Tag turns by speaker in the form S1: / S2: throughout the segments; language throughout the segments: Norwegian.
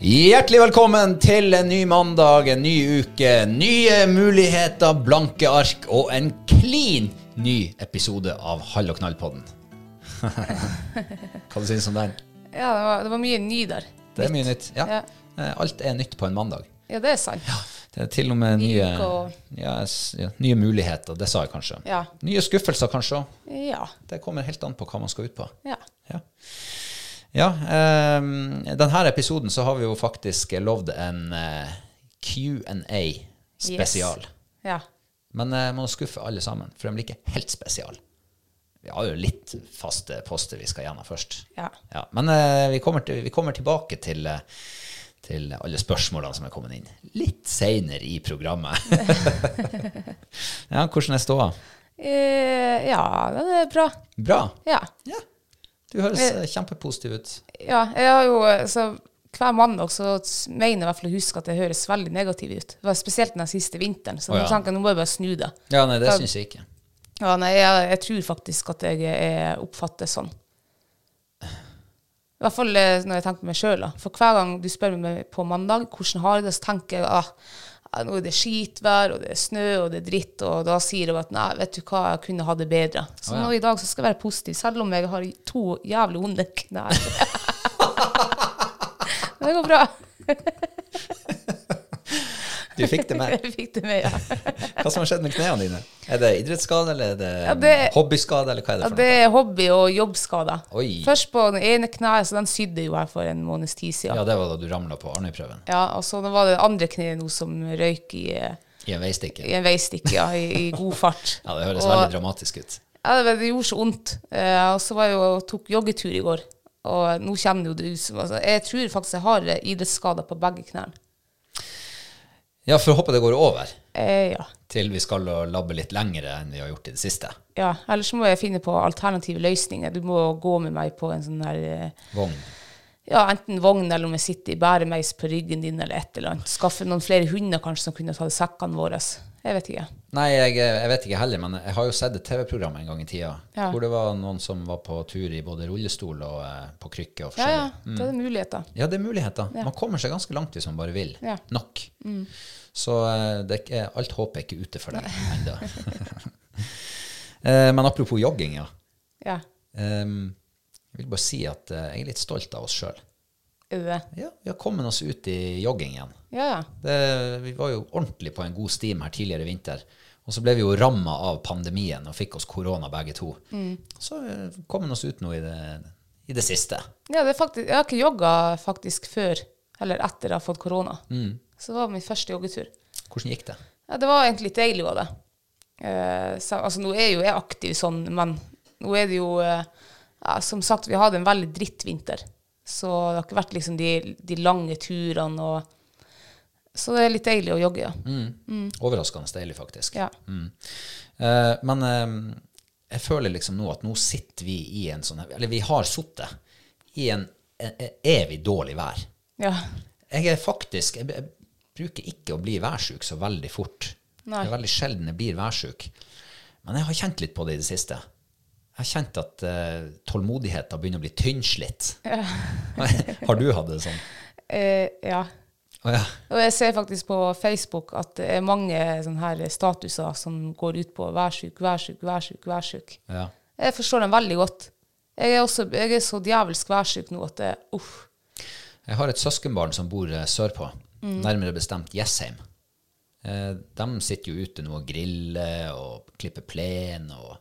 S1: Hjertelig velkommen til en ny mandag, en ny uke, nye muligheter, blanke ark og en klin ny episode av Hall og knall-podden. Hva du synes du om den?
S2: Ja, det var, det var mye ny der.
S1: Det er mye nytt. Ja.
S2: Ja.
S1: Eh, Alt er nytt på en mandag.
S2: Ja, det er sant.
S1: Det er til og med nye,
S2: Uke og-
S1: ja, s- ja, nye muligheter, det sa jeg kanskje.
S2: Ja.
S1: Nye skuffelser kanskje òg.
S2: Ja.
S1: Det kommer helt an på hva man skal ut på.
S2: ja.
S1: Ja. ja eh, denne episoden så har vi jo faktisk lovd en eh, Q&A spesial.
S2: ja.
S1: Men eh, jeg må skuffe alle sammen, for de blir ikke helt spesial. Vi har jo litt faste poster vi skal gjennom først.
S2: Ja.
S1: men eh, vi, kommer til, vi kommer tilbake til, eh, til alle spørsmålene som er kommet inn litt seinere i programmet. ja, hvordan er ståa?
S2: Eh, ja, det er bra.
S1: Bra.
S2: Ja.
S1: Ja. Du høres eh, kjempepositiv ut.
S2: ja. Jeg har jo eh, så hver mandag så s- mener jeg i hvert fall å huske at det høres veldig negativt ut. Det var spesielt den siste vinteren. Så
S1: Å,
S2: nå
S1: ja.
S2: tenker jeg nå må jeg bare snu det.
S1: Ja, nei, det
S2: Da-
S1: syns jeg ikke.
S2: Ja, nei, jeg, jeg tror faktisk at jeg er oppfattes sånn. I hvert fall eh, når jeg tenker på meg sjøl. For hver gang du spør meg på mandag hvordan har jeg det, så tenker jeg ah, ah, nå er det skitvær, og det er snø, og det er dritt. Og da sier jeg at nei, vet du hva, jeg kunne ha det bedre. Så
S1: Å, ja.
S2: nå i dag så skal jeg være positiv, selv om jeg har to jævlig vonde knær. det går bra.
S1: Du fikk det med.
S2: Jeg fikk det med, ja.
S1: Hva som har skjedd med knærne dine? Er det idrettsskade, eller er det,
S2: Ja, det-
S1: hobbyskade, eller hva er det
S2: Ja,
S1: for
S2: det
S1: noe?
S2: er hobby- og jobbskader.
S1: Oi.
S2: Først på den ene kneet, så den sydde jo her for en måneds tid siden.
S1: Ja, det var da du ramla på Arnøy-prøven.
S2: Ja, og så nå var det andre kneet nå som røyk i,
S1: I en veistikke.
S2: i en veistikke ja, i, i god fart.
S1: Ja, det høres
S2: og,
S1: veldig dramatisk ut.
S2: Ja, det, det gjorde så vondt. Eh, og så var jeg og tok joggetur i går, og nå kjenner jo det ut som altså, Jeg tror faktisk jeg har eh, idrettsskader på begge knærne.
S1: Ja, for å håpe det går over,
S2: Eh, ja.
S1: til vi skal å labbe litt lengre enn vi har gjort i det siste.
S2: ja. Ellers må jeg finne på alternative løsninger. Du må gå med meg på en sånn her eh,
S1: Vogn.
S2: ja, enten vogn eller om jeg sitter i bæremeis på ryggen din eller et eller annet. Skaffe noen flere hunder kanskje som kunne ta sekkene våre. Jeg vet ikke.
S1: Nei, jeg, jeg vet ikke heller, men jeg har jo sett et TV-program en gang i tida
S2: Ja.
S1: hvor det var noen som var på tur i både rullestol og eh, på krykke og
S2: Ja,
S1: forskjellig.
S2: ja. Da er det muligheter.
S1: Ja, det er muligheter. Man kommer seg ganske langt hvis man bare vil.
S2: Ja. Mm.
S1: Nok. Så eh, det er, ikke- alt håpet er ikke ute for deg ennå. Eh, Men apropos jogging, ja.
S2: Ja.
S1: Em, Jeg vil bare si at eh, jeg er litt stolt av oss sjøl.
S2: Er det det?
S1: Ja, vi har kommet oss ut i jogging igjen.
S2: Ja, ja.
S1: Det, vi var jo ordentlig på en god stim her tidligere i vinter. Og så ble vi jo ramma
S2: Mm.
S1: av pandemien og fikk oss korona begge to. Så eh, kom vi oss ut nå i det, i det siste.
S2: Ja, det er faktisk, jeg har ikke jogga faktisk før eller etter jeg har fått korona. Så det var min første joggetur.
S1: Hvordan gikk det?
S2: Ja, det var egentlig litt deilig, var det. Eh, så, altså, nå er jo jeg aktiv sånn, men nå er det jo eh, ja, Som sagt, vi hadde en veldig drittvinter. Så det har ikke vært liksom de, de lange turene og Så det er litt deilig å jogge, ja.
S1: Mm. Overraskende deilig, faktisk.
S2: Mm. ja.
S1: Mm. Eh, men eh, jeg føler liksom nå at nå sitter vi i en sånn Eller vi har sittet i en e- e- evig dårlig vær.
S2: ja.
S1: Jeg er faktisk Jeg, jeg bruker ikke å bli værsjuk så veldig fort.
S2: Nei.
S1: Det er veldig sjelden jeg blir værsjuk. Men jeg har kjent litt på det i det siste. Jeg har kjent at uh, tålmodigheten begynner å bli tynnslitt. har du hatt det sånn?
S2: Eh, ja.
S1: Å ja.
S2: Og jeg ser faktisk på Facebook at det er mange sånne her statuser som går ut på 'vær sjuk, vær sjuk, vær sjuk', vær sjuk.
S1: ja.
S2: Jeg forstår den veldig godt. Jeg er, også, jeg er så djevelsk værsjuk nå at det, uff.
S1: Jeg har et søskenbarn som bor eh, sørpå,
S2: Mm.
S1: nærmere bestemt Jessheim. Eh, de sitter jo ute nå og griller og klipper plen og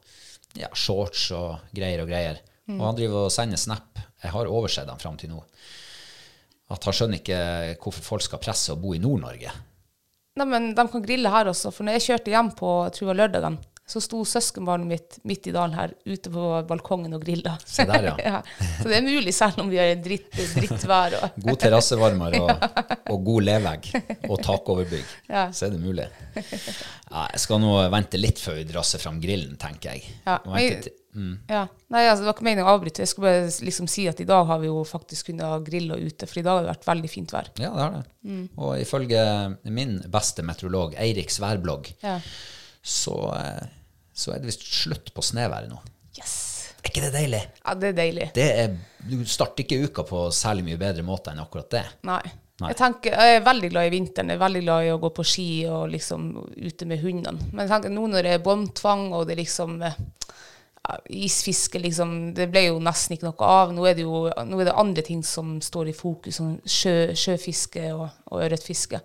S1: ja, shorts og greier og greier.
S2: Mm.
S1: Og han driver og sender snap. Jeg har oversett ham fram til nå. At han skjønner ikke hvorfor folk skal presse å bo i Nord-Norge.
S2: Nei, men de kan grille her også, for når jeg kjørte hjem på jeg tror det var lørdagen, så sto søskenbarnet mitt midt i dalen her ute på balkongen og grilla.
S1: Se der, ja.
S2: Så det er mulig, selv om vi har dritt, drittvær. Og,
S1: God terrassevarmer og, og god levegg og takoverbygg.
S2: Ja.
S1: Så er det mulig. Ja, jeg skal nå vente litt før vi drasser fram grillen, tenker jeg.
S2: ja.
S1: Og
S2: Men,
S1: vente til-
S2: ja. Nei, altså, det var ikke meningen å avbryte. Jeg skulle bare liksom si at i dag har vi jo faktisk kunnet grille ute, for i dag har det vært veldig fint vær.
S1: Ja, det har det.
S2: Mm.
S1: Og ifølge min beste meteorolog, Eiriks værblogg,
S2: Ja.
S1: så, eh, så er det visst slutt på sneværet nå.
S2: Yes!
S1: Er ikke det deilig?
S2: Ja, det er deilig.
S1: Det er, du starter ikke uka på særlig mye bedre måte enn akkurat det.
S2: Nei.
S1: Nei.
S2: Jeg, tenker, jeg er veldig glad i vinteren. Jeg er veldig glad i å gå på ski og liksom ute med hundene. Men jeg tenker, nå når det er båndtvang og det er liksom eh, ja, Isfiske, liksom. Det ble jo nesten ikke noe av. Nå er det jo nå er det andre ting som står i fokus, som sjø, sjøfiske og, og ørretfiske.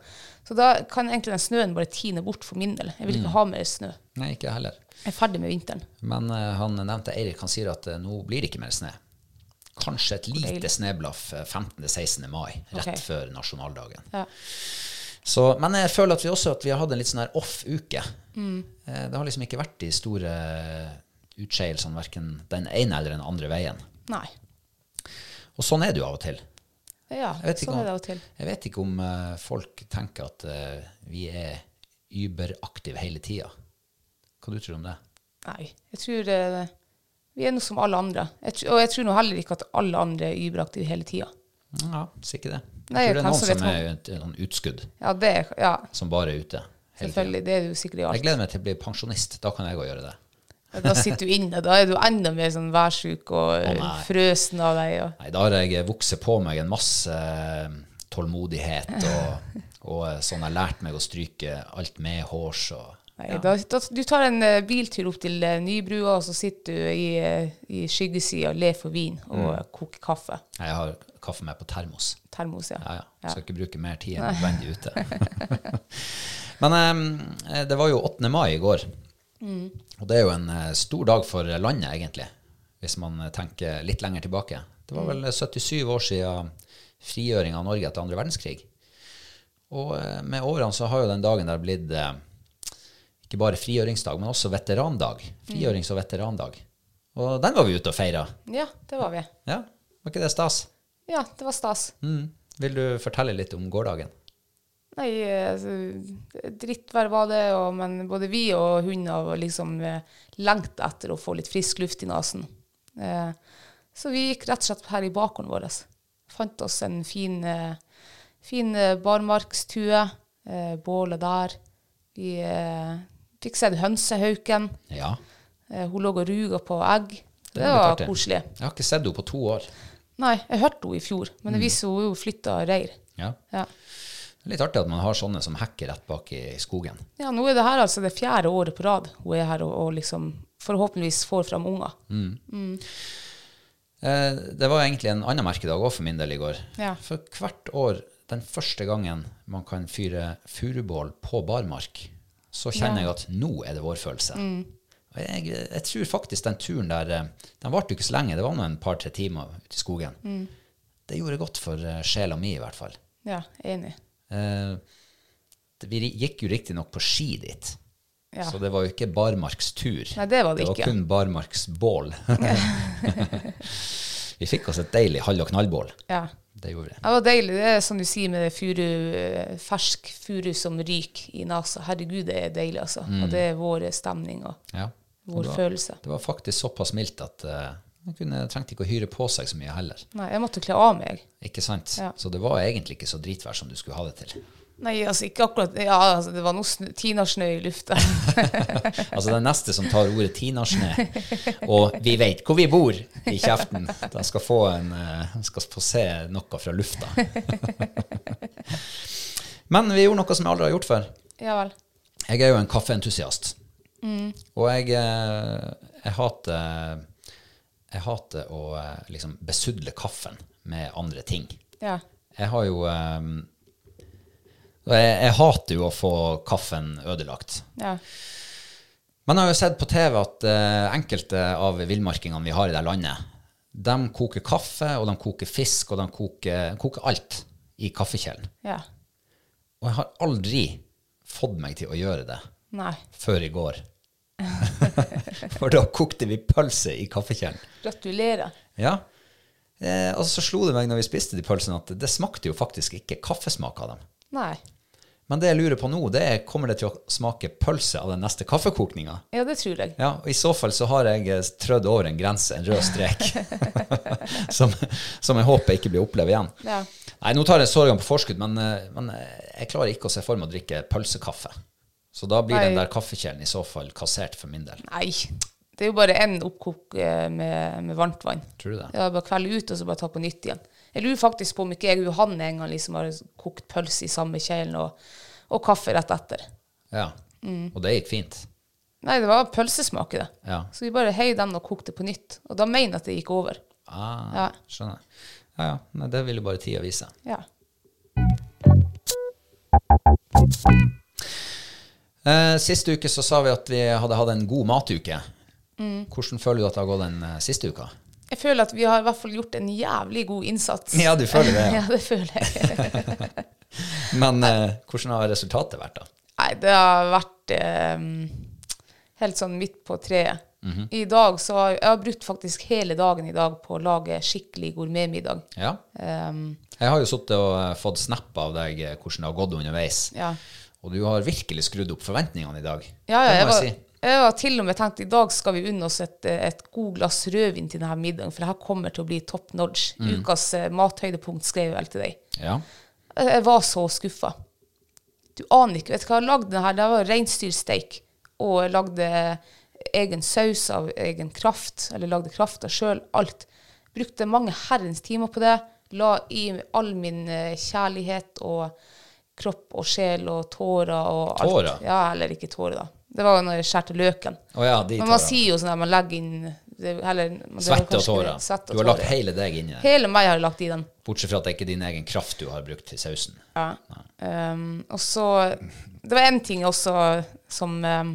S2: Så da kan egentlig den snøen bare tine bort for min del. Jeg vil ikke
S1: Mm.
S2: ha mer snø.
S1: Nei, ikke jeg heller.
S2: Jeg er ferdig med vinteren.
S1: Men eh, han nevnte Eirik, han sier at eh, nå blir det ikke mer sne. Kanskje et lite
S2: Deilig.
S1: sneblaff eh, 15.-16. mai, rett
S2: Ok.
S1: før nasjonaldagen.
S2: Ja.
S1: Så, men jeg føler at vi også at vi har hatt en litt sånn her off-uke.
S2: Mm.
S1: Eh, Det har liksom ikke vært de store eh, utskeielsene verken den ene eller den andre veien.
S2: Nei.
S1: Og sånn er det jo av og til.
S2: Ja,
S1: Jeg vet ikke
S2: sånn er det av og
S1: om,
S2: til.
S1: jeg vet ikke om eh, folk tenker at eh, vi er überaktive hele tida. Hva du tror om det?
S2: Nei, jeg tror eh, vi er noe som alle andre. Jeg, tr- og jeg tror nå heller ikke at alle andre er überaktive hele tida.
S1: Ja, sier ikke det. Jeg
S2: Nei,
S1: tror det er
S2: kanskje
S1: noen
S2: vet
S1: som
S2: man-
S1: er et, et sånn utskudd,
S2: Ja, det er, ja,
S1: som bare er ute. hele tiden.
S2: selvfølgelig. Det er du sikkert i
S1: Jeg
S2: alt.
S1: gleder meg til å bli pensjonist. Da kan jeg òg gjøre det.
S2: Da sitter du inne. Da er du enda mer sånn værsjuk og
S1: Å,
S2: eh,
S1: nei.
S2: frøsen av deg. Og,
S1: Nei, da har jeg vokset på meg en masse eh, tålmodighet, og, og eh, sånn jeg har lært meg å stryke alt med hårs. Og,
S2: nei, da, da, du tar en eh, biltur opp til eh, Nybrua, og så sitter du i, eh, i skyggesida og ler for vin og
S1: Mm.
S2: koker kaffe.
S1: jeg har kaffe med på termos.
S2: Termos, ja.
S1: Ja, ja. Skal ikke bruke mer tid enn nødvendig ute. Men eh, det var jo 8. mai i går, og det er jo en eh, stor dag for landet, egentlig, hvis man eh, tenker litt lenger tilbake. Det var vel 77 år siden frigjøringa av Norge etter andre verdenskrig. Og eh, med årene så har jo den dagen der blitt eh, ikke bare frigjøringsdag, men også veterandag. Frigjørings- og veterandag. Og den var vi ute og feira.
S2: ja, det var vi.
S1: Ja, var ikke det stas?
S2: Ja, det var stas.
S1: Mm. Vil du fortelle litt om gårsdagen?
S2: Nei, eh, så drittvær var det, og, men både vi og hunder var liksom eh, lengta etter å få litt frisk luft i nesen. Eh, så vi gikk rett og slett her i bakgården vår. Fant oss en fin, eh, fin eh, barmarkstue, eh, bålet der. Vi eh, fikk sett hønsehauken.
S1: Ja.
S2: Eh, hun lå og ruga på egg.
S1: Det
S2: Det,
S1: er litt
S2: var
S1: artig.
S2: koselig.
S1: Jeg har ikke sett henne på to år.
S2: Nei, jeg hørte henne i fjor,
S1: Mm.
S2: men det viser hun jo flytta reir.
S1: Ja.
S2: Ja.
S1: Det er litt artig at man har sånne som hacker rett bak i skogen.
S2: Ja, nå er det her altså det fjerde året på rad hun er her og, og liksom forhåpentligvis får fram unger.
S1: Mm. Eh, det var egentlig en annen merkedag òg for min del i går.
S2: Ja.
S1: For hvert år, den første gangen man kan fyre furubål på barmark, så kjenner jeg at nå er det vårfølelse. Og jeg, jeg tror faktisk den turen der eh, Den varte jo ikke så lenge, det var nå en par-tre timer ute i skogen. Det gjorde godt for eh, sjela mi, i hvert fall.
S2: Ja, enig.
S1: Eh, det- vi ri- gikk jo riktignok på ski dit,
S2: Ja.
S1: så det var jo ikke barmarkstur.
S2: Nei, det var det ikke.
S1: Det var kun barmarksbål. vi fikk oss et deilig hall- og knallbål.
S2: Ja.
S1: Det gjorde vi.
S2: Det var deilig. Det er som du sier med det furu, eh, fersk furu som ryker i nesa. Herregud, det er deilig, altså. Og det er vår stemning og
S1: Ja. Mm. Og
S2: vår
S1: det var-
S2: følelse.
S1: Det var faktisk såpass mildt at eh, man kunne, trengte ikke å hyre på seg så mye heller.
S2: Nei, jeg måtte kle av meg.
S1: Ikke sant?
S2: Ja.
S1: Så det var egentlig ikke så dritvær som du skulle ha det til.
S2: Nei, altså ikke akkurat Ja, altså, det var noe snø, tinasnø i lufta.
S1: Altså den neste som tar ordet Tinasjne, og vi vet hvor vi bor i kjeften, den skal få, en, eh, skal få se noe fra lufta. Men vi gjorde noe som jeg aldri har gjort før.
S2: ja vel.
S1: Jeg er jo en kaffeentusiast. Og jeg, eh, jeg hater eh, jeg hater å eh, liksom besudle kaffen med andre ting.
S2: Ja.
S1: Jeg har jo eh, jeg, jeg hater jo å få kaffen ødelagt.
S2: ja.
S1: Man har jo sett på TV at eh, enkelte av villmarkingene vi har i det her landet, de koker kaffe, og de koker fisk, og de koker, koker alt i kaffekjelen.
S2: Ja.
S1: Og jeg har aldri fått meg til å gjøre det
S2: Nei.
S1: før i går. For da kokte vi pølse i kaffekjelen.
S2: Gratulerer.
S1: Ja. Eh, og så slo det meg når vi spiste de pølsene, at det smakte jo faktisk ikke kaffesmak av dem.
S2: Nei.
S1: Men det jeg lurer på nå, det er kommer det til å smake pølse av den neste kaffekokninga?
S2: Ja, det tror jeg.
S1: Ja, og I så fall så har jeg eh, trødd over en grense, en rød strek, som, som jeg håper ikke blir opplevd igjen.
S2: Ja.
S1: Nei, Nå tar jeg sorgene på forskudd, men, eh, men eh, jeg klarer ikke å se for meg å drikke pølsekaffe. Så da blir den
S2: Nei.
S1: der kaffekjelen i så fall kassert for min del.
S2: Nei. Det er jo bare én oppkok eh, med, med varmt vann.
S1: Tror du det?
S2: Ja, bare kvelde ut, og så bare ta på nytt igjen. Jeg lurer faktisk på om ikke jeg og Johanne en gang liksom har kokt pølse i samme kjelen og, og kaffe rett etter.
S1: Ja.
S2: Mm.
S1: Og det gikk fint.
S2: Nei, det var pølsesmak i det.
S1: Ja.
S2: Så vi bare heiv den og kokte på nytt. Og da mener jeg at det gikk over.
S1: Ah,
S2: Ja.
S1: Skjønner. Ja, ja. Nei, det vil jo bare tida vise.
S2: Ja.
S1: Eh, sist uke så sa vi at vi hadde hatt en god matuke.
S2: Mm.
S1: Hvordan føler du at det har gått den eh, siste uka?
S2: Jeg føler at vi har i hvert fall gjort en jævlig god innsats.
S1: Ja, du føler det, ja.
S2: ja, det føler jeg.
S1: Men eh, hvordan har resultatet vært, da?
S2: Nei, det har vært eh, helt sånn midt på treet.
S1: Mhm.
S2: I dag så har jeg har brukt faktisk hele dagen i dag på å lage skikkelig gourmetmiddag.
S1: Ja.
S2: Um,
S1: Jeg har jo sittet og eh, fått snap av deg eh, hvordan det har gått underveis.
S2: ja.
S1: Og du har virkelig skrudd opp forventningene i dag.
S2: Ja, ja,
S1: det
S2: jeg
S1: må
S2: var,
S1: jeg si.
S2: jeg var til og med tenkt i dag skal vi unne oss et, et god glass rødvin til denne middagen, for det her kommer til å bli top notch.
S1: Mm.
S2: Ukas eh, mathøydepunkt skrev jeg vel til deg.
S1: Ja.
S2: Jeg jeg var så skuffa. Du aner ikke. Vet du hva jeg lagde den her? Det var reinsdyrsteik. Og jeg lagde egen saus av egen kraft. Eller lagde krafta sjøl. Alt. Brukte mange herrens timer på det. La i all min eh, kjærlighet og kropp og sjel og tårer og alt.
S1: Tårer?
S2: Ja, eller ikke tårer, da. Det var jo når jeg skjærte løken.
S1: Å ja, de
S2: Men man
S1: tårene.
S2: sier jo sånn der man legger inn det, eller, men det var
S1: Svette og
S2: kanskje-
S1: tårer.
S2: Svette og
S1: Du har lagt
S2: tårer.
S1: hele deg inn i det.
S2: Hele meg har jeg lagt i den.
S1: Bortsett fra at det ikke er din egen kraft du har brukt til sausen.
S2: Ja. Ehm, og så Det var én ting også som ehm,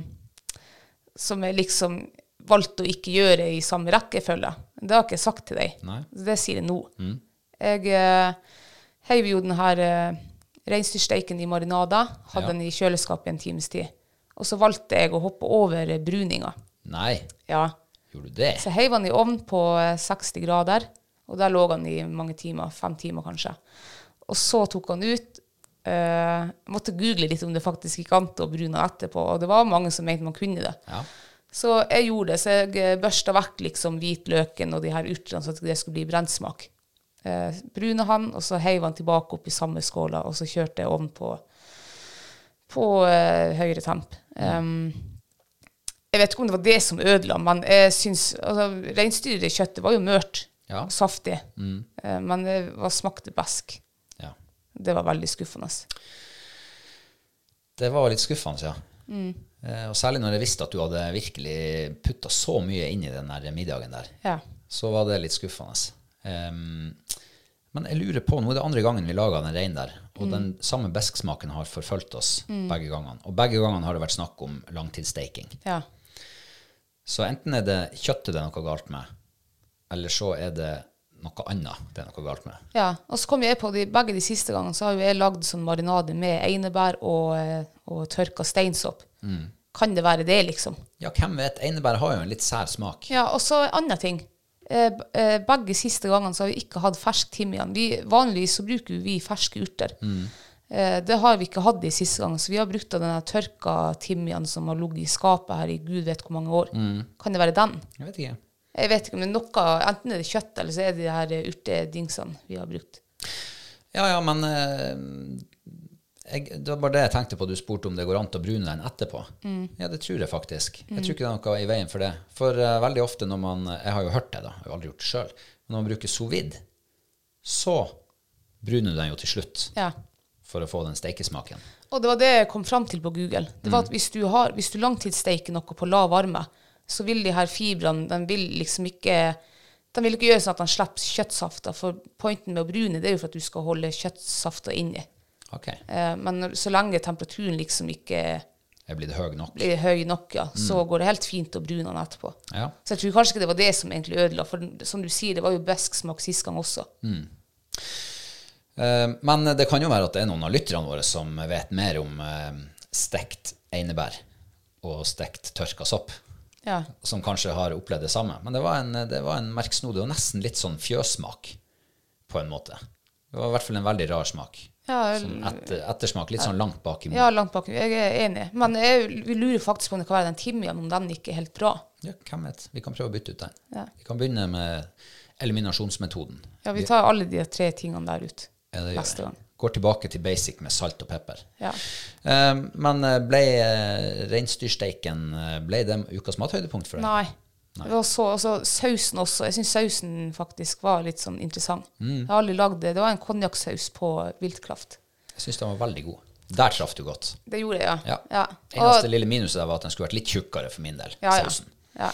S2: Som jeg liksom valgte å ikke gjøre i samme rekkefølge. Det har ikke jeg sagt til deg.
S1: Nei. Mm.
S2: Så Det sier jeg nå. Jeg eh, heiv jo den her eh, reinsdyrsteiken i marinada. Hadde
S1: Ja.
S2: den i kjøleskapet i en times tid. Og så valgte jeg å hoppe over eh, bruninga.
S1: Nei,
S2: Ja.
S1: gjorde du det?
S2: Så heiv han i ovn på eh, 60 grader, og der lå han i mange timer, fem timer kanskje. Og så tok han ut. eh, måtte google litt om det faktisk gikk an til å brune etterpå, og det var mange som mente man kunne det.
S1: Ja.
S2: Så jeg gjorde det, så jeg eh, børsta vekk liksom hvitløken og de her urtene, så at det skulle bli brennsmak. Uh, brune han, og så heiv han tilbake opp i samme skåla, og så kjørte jeg ovn på, på eh, høyere temp. Um, jeg vet ikke om det var det som ødela, men jeg syns altså, Reinsdyrkjøttet var jo mørt,
S1: Ja.
S2: saftig, Eh, men det var, smakte besk.
S1: ja.
S2: Det var veldig skuffende.
S1: Det var litt skuffende, ja. Eh, og særlig når jeg visste at du hadde virkelig putta så mye inn i den der middagen der.
S2: Ja.
S1: så var det litt skuffende. Ehm, men jeg lurer på, nå er det andre gangen vi laga den reinen der, og den samme besksmaken har forfulgt oss begge gangene. Og begge gangene har det vært snakk om langtidssteiking.
S2: ja.
S1: Så enten er det kjøttet det er noe galt med, eller så er det noe annet det er noe galt med.
S2: Ja, og så kom jeg på de, begge de siste gangene, så har jo jeg lagd sånn marinade med einebær og, eh, og tørka steinsopp. Kan det være det, liksom?
S1: Ja, hvem vet? Einebær har jo en litt sær smak.
S2: Ja, og så en annen ting. Eh, b- eh, Begge siste gangene så har vi ikke hatt fersk timian. Vi, vanligvis så bruker jo vi ferske urter. Eh, Det har vi ikke hatt de siste gangene, så vi har brukt av denne tørka timian som har ligget i skapet her i gud vet hvor mange år. Kan det være den?
S1: Jeg vet ikke.
S2: Jeg vet ikke, men noe, enten er det kjøtt, eller så er det de her eh, urtedingsene vi har brukt.
S1: Ja, ja, men eh, jeg, det var bare det jeg tenkte på. Du spurte om det går an å brune den etterpå.
S2: Mm.
S1: Ja, det tror jeg faktisk. Jeg tror ikke det er noe i veien for det. For eh, veldig ofte når man Jeg har jo hørt det, da. Jeg har jo aldri gjort det sjøl. Men når man bruker sous vide, så bruner du den jo til slutt
S2: Ja.
S1: for å få den steikesmaken.
S2: Og det var det jeg kom fram til på Google. Det var at hvis du, har, hvis du langtidssteiker noe på lav varme, så vil de her fibrene de vil liksom ikke de vil ikke gjøre sånn at de slipper kjøttsafta, for pointen med å brune det er jo for at du skal holde kjøttsafta inni.
S1: OK.
S2: Eh, men når, så lenge temperaturen liksom ikke
S1: Er blitt høy nok?
S2: blir høy nok, ja, så går det helt fint å brune den etterpå.
S1: Ja.
S2: Så jeg tror kanskje ikke det var det som egentlig ødela, for som du sier, det var jo besksmak sist gang også.
S1: Eh, Men det kan jo være at det er noen av lytterne våre som vet mer om eh, stekt einebær og stekt tørka sopp,
S2: Ja.
S1: som kanskje har opplevd det samme. Men det var en, det var en merksnodig og nesten litt sånn fjøssmak, på en måte. Det var i hvert fall en veldig rar smak.
S2: Ja, jeg-
S1: Sånn etter, ettersmak, litt sånn langt bak i munnen.
S2: Ja, langt bak. Jeg er enig. Men jeg lurer faktisk på om det kan være den timian, om den ikke er helt bra.
S1: Ja, hvem vet. Vi kan prøve å bytte ut den.
S2: Ja.
S1: Vi kan begynne med eliminasjonsmetoden.
S2: Ja, vi tar alle de tre tingene der ut
S1: Ja, det gjør
S2: neste
S1: jeg.
S2: gang.
S1: Går tilbake til basic med salt og pepper.
S2: Ja.
S1: Eh, men eh, ble uh, reinsdyrsteiken eh, ble det ukas mathøydepunkt for deg?
S2: Nei. Det var så, og så sausen også. Jeg syns sausen faktisk var litt sånn interessant.
S1: Mm.
S2: Jeg har aldri lagd det. Det var en konjakksaus på viltkraft.
S1: Jeg syns den var veldig god. Der traff du godt.
S2: Det gjorde jeg, ja.
S1: Ja.
S2: Ja.
S1: Eneste
S2: Og,
S1: lille minuset der var at den skulle vært litt tjukkere for min del.
S2: ja, ja.
S1: Sausen.
S2: ja.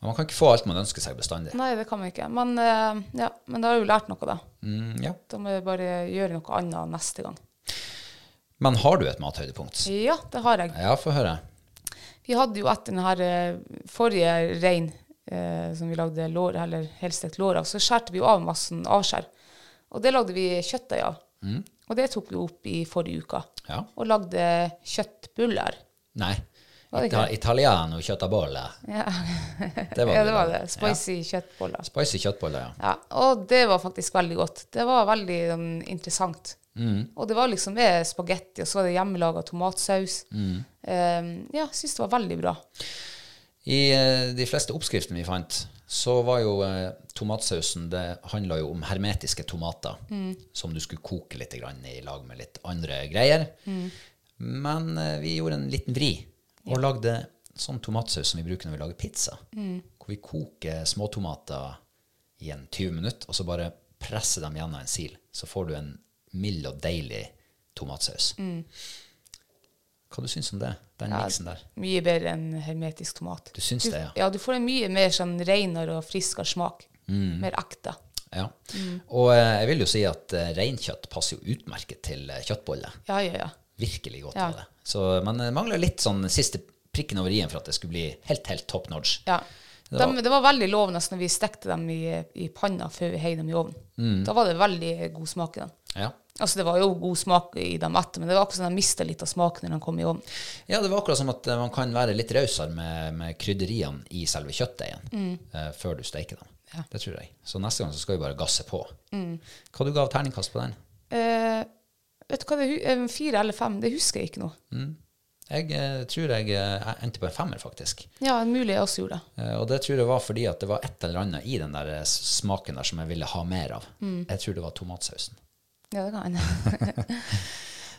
S1: Men man kan ikke få alt man ønsker seg bestandig.
S2: Nei, det kan vi ikke. Men, eh, ja. Men da har jeg jo lært noe, da.
S1: Mm, ja.
S2: Da må jeg bare gjøre noe annet neste gang.
S1: Men har du et mathøydepunkt?
S2: Ja, det har jeg.
S1: Ja, få høre.
S2: Vi hadde jo etter den her eh, forrige rein eh, som vi lagde lår, eller helstekt lår av, så skjærte vi jo av massen avskjær. Og det lagde vi kjøttdeig av. Og det tok vi opp i forrige uke.
S1: Mm. Ja.
S2: Og lagde kjøttbuller.
S1: Nei.
S2: Var det
S1: Ita
S2: ikke?
S1: italiano kjøttabolle.
S2: Ja,
S1: Det var
S2: ja
S1: det
S2: det
S1: da.
S2: var det. Spicy kjøttboller.
S1: Spicy kjøttboller, ja.
S2: Ja, og det var faktisk veldig godt. Det var veldig sånn, interessant.
S1: Mm.
S2: Og det var liksom med spagetti, og så var det hjemmelaga tomatsaus.
S1: Mm.
S2: Eh, ja, syns det var veldig bra.
S1: I eh, de fleste oppskriftene vi fant, så var jo eh, tomatsausen Det handla jo om hermetiske tomater som du skulle koke litt grann i lag med litt andre greier. Men eh, vi gjorde en liten vri og lagde sånn tomatsaus som vi bruker når vi lager pizza. Hvor vi koker småtomater i en 20 minutter, og så bare presser dem gjennom en sil. Så får du en mild og deilig tomatsaus. Hva du syns du om det? Den miksen der?
S2: Mye bedre enn hermetisk tomat.
S1: Du syns det, ja?
S2: Ja, du får en mye mer sånn renere og friskere smak.
S1: Mm.
S2: Mer ekte.
S1: Ja. Og eh, jeg vil jo si at eh, reinkjøtt passer jo utmerket til eh, kjøttboller.
S2: Ja, ja, ja.
S1: Virkelig godt
S2: Ja.
S1: av det. Så man mangler litt sånn siste prikken over i-en for at det skulle bli helt, helt top notch.
S2: ja.
S1: Det
S2: De,
S1: var-
S2: det var veldig lovende når vi stekte dem i, i panna før vi heiv dem i ovnen.
S1: Mm.
S2: Da var det veldig god smak i dem.
S1: Ja.
S2: Altså, det var jo god smak i dem etter, men det var akkurat som de mista litt av smaken når de kom i ovnen.
S1: ja, det var akkurat som at eh, man kan være litt rausere med, med krydderiene i selve kjøttdeigen eh, før du steiker dem. Det tror jeg. Så neste gang så skal vi bare gasse på. Hva du gav terningkast på den?
S2: Eh, vet du hva det hu- eh, Fire eller fem, det husker jeg ikke nå.
S1: Jeg eh, tror jeg eh, endte på en femmer, faktisk.
S2: Ja, mulig jeg også gjorde det.
S1: Eh, Og det tror jeg var fordi at det var et eller annet i den der eh, s- smaken der som jeg ville ha mer av. Jeg tror det var tomatsausen.
S2: Ja, det kan hende.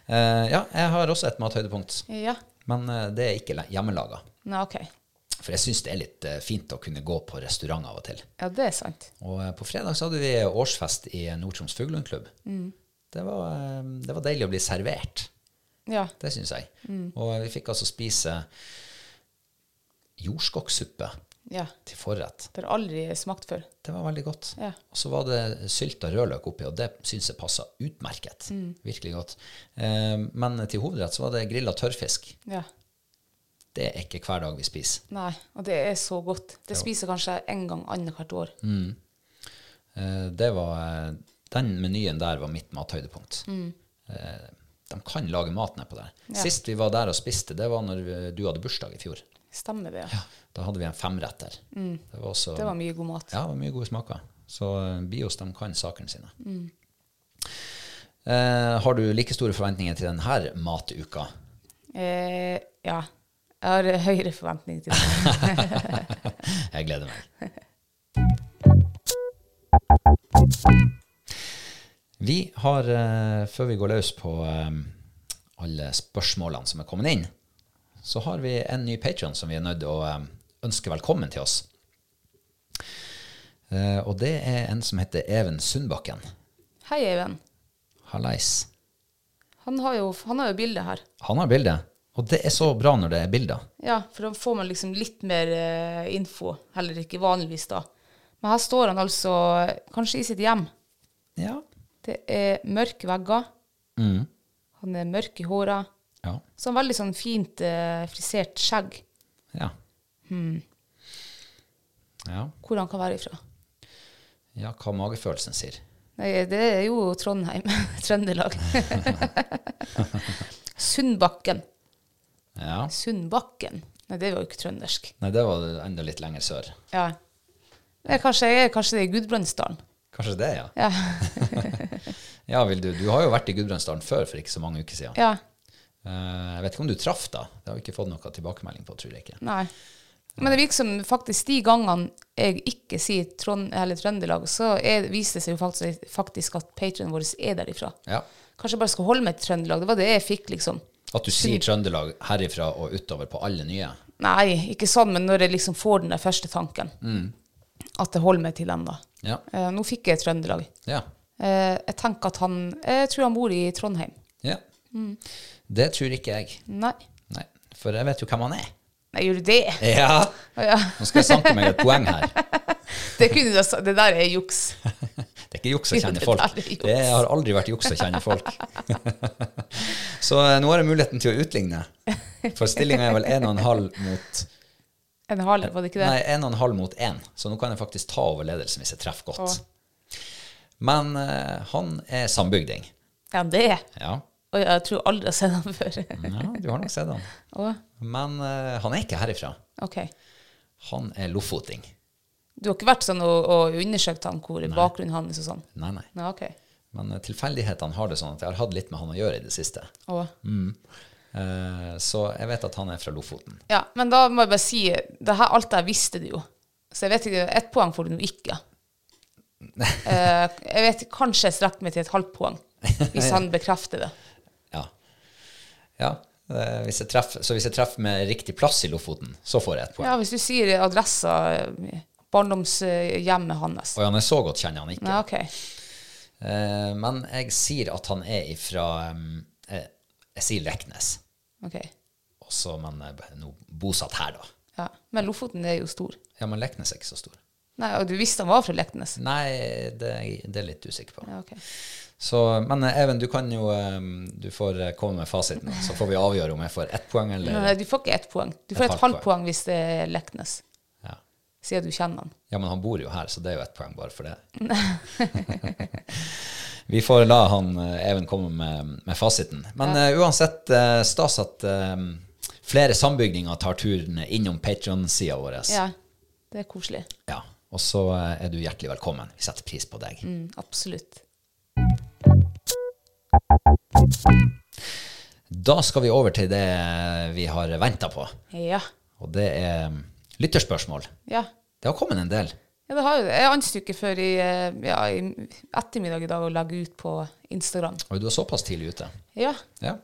S1: Eh, ja, jeg har også et mathøydepunkt,
S2: ja.
S1: men eh, det er ikke le- hjemmelaga.
S2: Nei, OK.
S1: For jeg syns det er litt eh, fint å kunne gå på restaurant av og til.
S2: Ja, det er sant.
S1: Og eh, på fredag så hadde vi årsfest i Nord-Troms Fuglehundklubb. Det, var, eh, det var deilig å bli servert.
S2: Ja.
S1: Det syns jeg. Og vi fikk altså spise jordskokksuppe
S2: ja.
S1: til forrett.
S2: Det har aldri smakt før.
S1: Det var veldig godt.
S2: Ja.
S1: Og så var det sylta rødløk oppi, og det syns jeg passa utmerket.
S2: Mm.
S1: Virkelig godt. Eh, men til hovedrett så var det grilla tørrfisk.
S2: Ja.
S1: det er ikke hver dag vi spiser.
S2: Nei, og det er så godt. Det spiser kanskje jeg en gang annethvert år.
S1: Eh, det var, eh, den menyen der var mitt mathøydepunkt.
S2: Mm.
S1: Eh, de kan lage mat nedpå der. Sist vi var der og spiste, det var når eh, du hadde bursdag i fjor.
S2: Stemmer det?
S1: Da hadde vi en femretter. Det var også
S2: Mm. Det var mye god mat.
S1: Ja, det var mye gode smaker. Så eh, Bios de kan sakene sine. Eh, har du like store forventninger til denne matuka?
S2: Eh, ja. Jeg har høyere forventning til det.
S1: Jeg gleder meg. Vi har, eh, før vi går løs på eh, alle spørsmålene som er kommet inn, så har vi en ny patron som vi er nødt til å eh, ønske velkommen til oss. Eh, og det er en som heter Even Sundbakken.
S2: Hei, Even.
S1: Hallais.
S2: Han har jo, han har jo bildet her.
S1: Han har bilde, og det er så bra når det er bilder.
S2: Ja, for da får man liksom litt mer eh, info. Heller ikke vanligvis, da. Men her står han altså eh, kanskje i sitt hjem.
S1: Ja.
S2: Det er mørke vegger. Han er mørk i håret.
S1: Mm. Ja.
S2: Så han har veldig sånn fint eh, frisert skjegg.
S1: Ja. ja.
S2: Hvor han kan være ifra.
S1: Ja, hva magefølelsen sier.
S2: Nei, det er jo Trondheim. Trøndelag. Sundbakken.
S1: Ja.
S2: Sundbakken. Nei, det var jo ikke trøndersk.
S1: Nei, det var enda litt lenger sør.
S2: Ja. Nei, kanskje jeg er kanskje det er i Gudbrandsdalen.
S1: Kanskje det, ja.
S2: Ja.
S1: Ja, vil du, du har jo vært i Gudbrandsdalen før for ikke så mange uker siden.
S2: ja.
S1: Eh, jeg vet ikke om du traff da. Det har vi ikke fått noe tilbakemelding på, tror jeg ikke.
S2: Nei. Men det virker som faktisk de gangene jeg ikke sier Trond eller Trøndelag, så er, viser det seg jo faktisk, faktisk at patronen vår er derifra.
S1: Ja.
S2: Kanskje jeg bare skal holde meg til Trøndelag. Det var det jeg fikk, liksom.
S1: At du sier Trøndelag herifra og utover på alle nye.
S2: Nei, ikke sånn, men når jeg liksom får den der første tanken. At jeg holder meg til den, da.
S1: Ja.
S2: Eh, nå fikk jeg Trøndelag.
S1: Ja.
S2: Eh, jeg tenker at han Jeg tror han bor i Trondheim.
S1: ja. Det tror ikke jeg.
S2: Nei.
S1: Nei, for jeg vet jo hvem han er.
S2: Nei, gjør du det?
S1: Ja!
S2: Å ja.
S1: Nå skal jeg sanke meg et poeng her.
S2: Det, kunne du ha sagt. det der er juks.
S1: Det er ikke juks å
S2: Jo,
S1: kjenne
S2: det
S1: folk.
S2: der er juks.
S1: Det har aldri vært juks å kjenne folk. Så eh, nå har jeg muligheten til å utligne. For stillinga er vel 1,5 mot
S2: En hal, var det ikke det?
S1: Nei, 1,5 mot 1. Så nå kan jeg faktisk ta over ledelsen hvis jeg treffer godt. Men eh, han er sambygding.
S2: Ja, det.
S1: Ja.
S2: Og jeg tror aldri jeg har sett han før.
S1: ja, du har nok sett han.
S2: Å,
S1: Men eh, han er ikke herifra.
S2: ok.
S1: Han er lofoting.
S2: Du har ikke vært sånn og, og undersøkt han hvor bakgrunnen hans og sånn?
S1: Nei, nei.
S2: Nei, ok.
S1: Men eh, tilfeldighetene har det sånn at jeg har hatt litt med han å gjøre i det siste.
S2: Å.
S1: Eh, så jeg vet at han er fra Lofoten.
S2: Ja, men da må jeg bare si det her, Alt det her visste du jo. Så jeg vet ikke, ett poeng får du nå ikke. Eh, jeg vet kanskje jeg strekker meg til et halvt poeng, hvis han bekrefter det.
S1: Ja. ja. eh, Hvis jeg treffer, så hvis jeg treffer med riktig plass i Lofoten, så får jeg et poeng.
S2: Ja, Hvis du sier adressa, eh, barndomshjemmet hans
S1: Og han er så godt kjenner han ikke.
S2: Nei, ok.
S1: Eh, Men jeg sier at han er ifra um, eh, Jeg sier Leknes,
S2: ok.
S1: også, men eh, b- nå bosatt her, da.
S2: Ja. Men Lofoten er jo stor.
S1: Ja, men Leknes er ikke så stor.
S2: Nei, Og du visste han var fra Leknes?
S1: Nei, det, er- det er jeg litt usikker på.
S2: Ja, ok.
S1: Så, men eh, Even, du kan jo eh, Du får eh, komme med fasiten, så får vi avgjøre om jeg får ett poeng eller
S2: Nei, eh, du får ikke ett poeng. Du får et, halvt poeng hvis det er Leknes,
S1: ja.
S2: siden du kjenner han.
S1: Ja, men han bor jo her, så det er jo ett poeng bare for det. Vi får la han eh, Even komme med, med fasiten. Men eh, uansett, eh, stas at eh, flere sambygdinger tar turen innom Patron-sida vår.
S2: Ja, det er koselig.
S1: Ja, Og så eh, er du hjertelig velkommen. Vi setter pris på deg.
S2: Mm, absolutt.
S1: Da skal vi over til det eh, vi har venta på,
S2: Ja.
S1: og det er mm, lytterspørsmål.
S2: Ja.
S1: Det har kommet en del.
S2: Ja, det har jo det. Jeg anstår ikke før i, eh, ja, i ettermiddag i dag å legge ut på Instagram.
S1: Og du er såpass tidlig ute.
S2: Ja.
S1: Ja,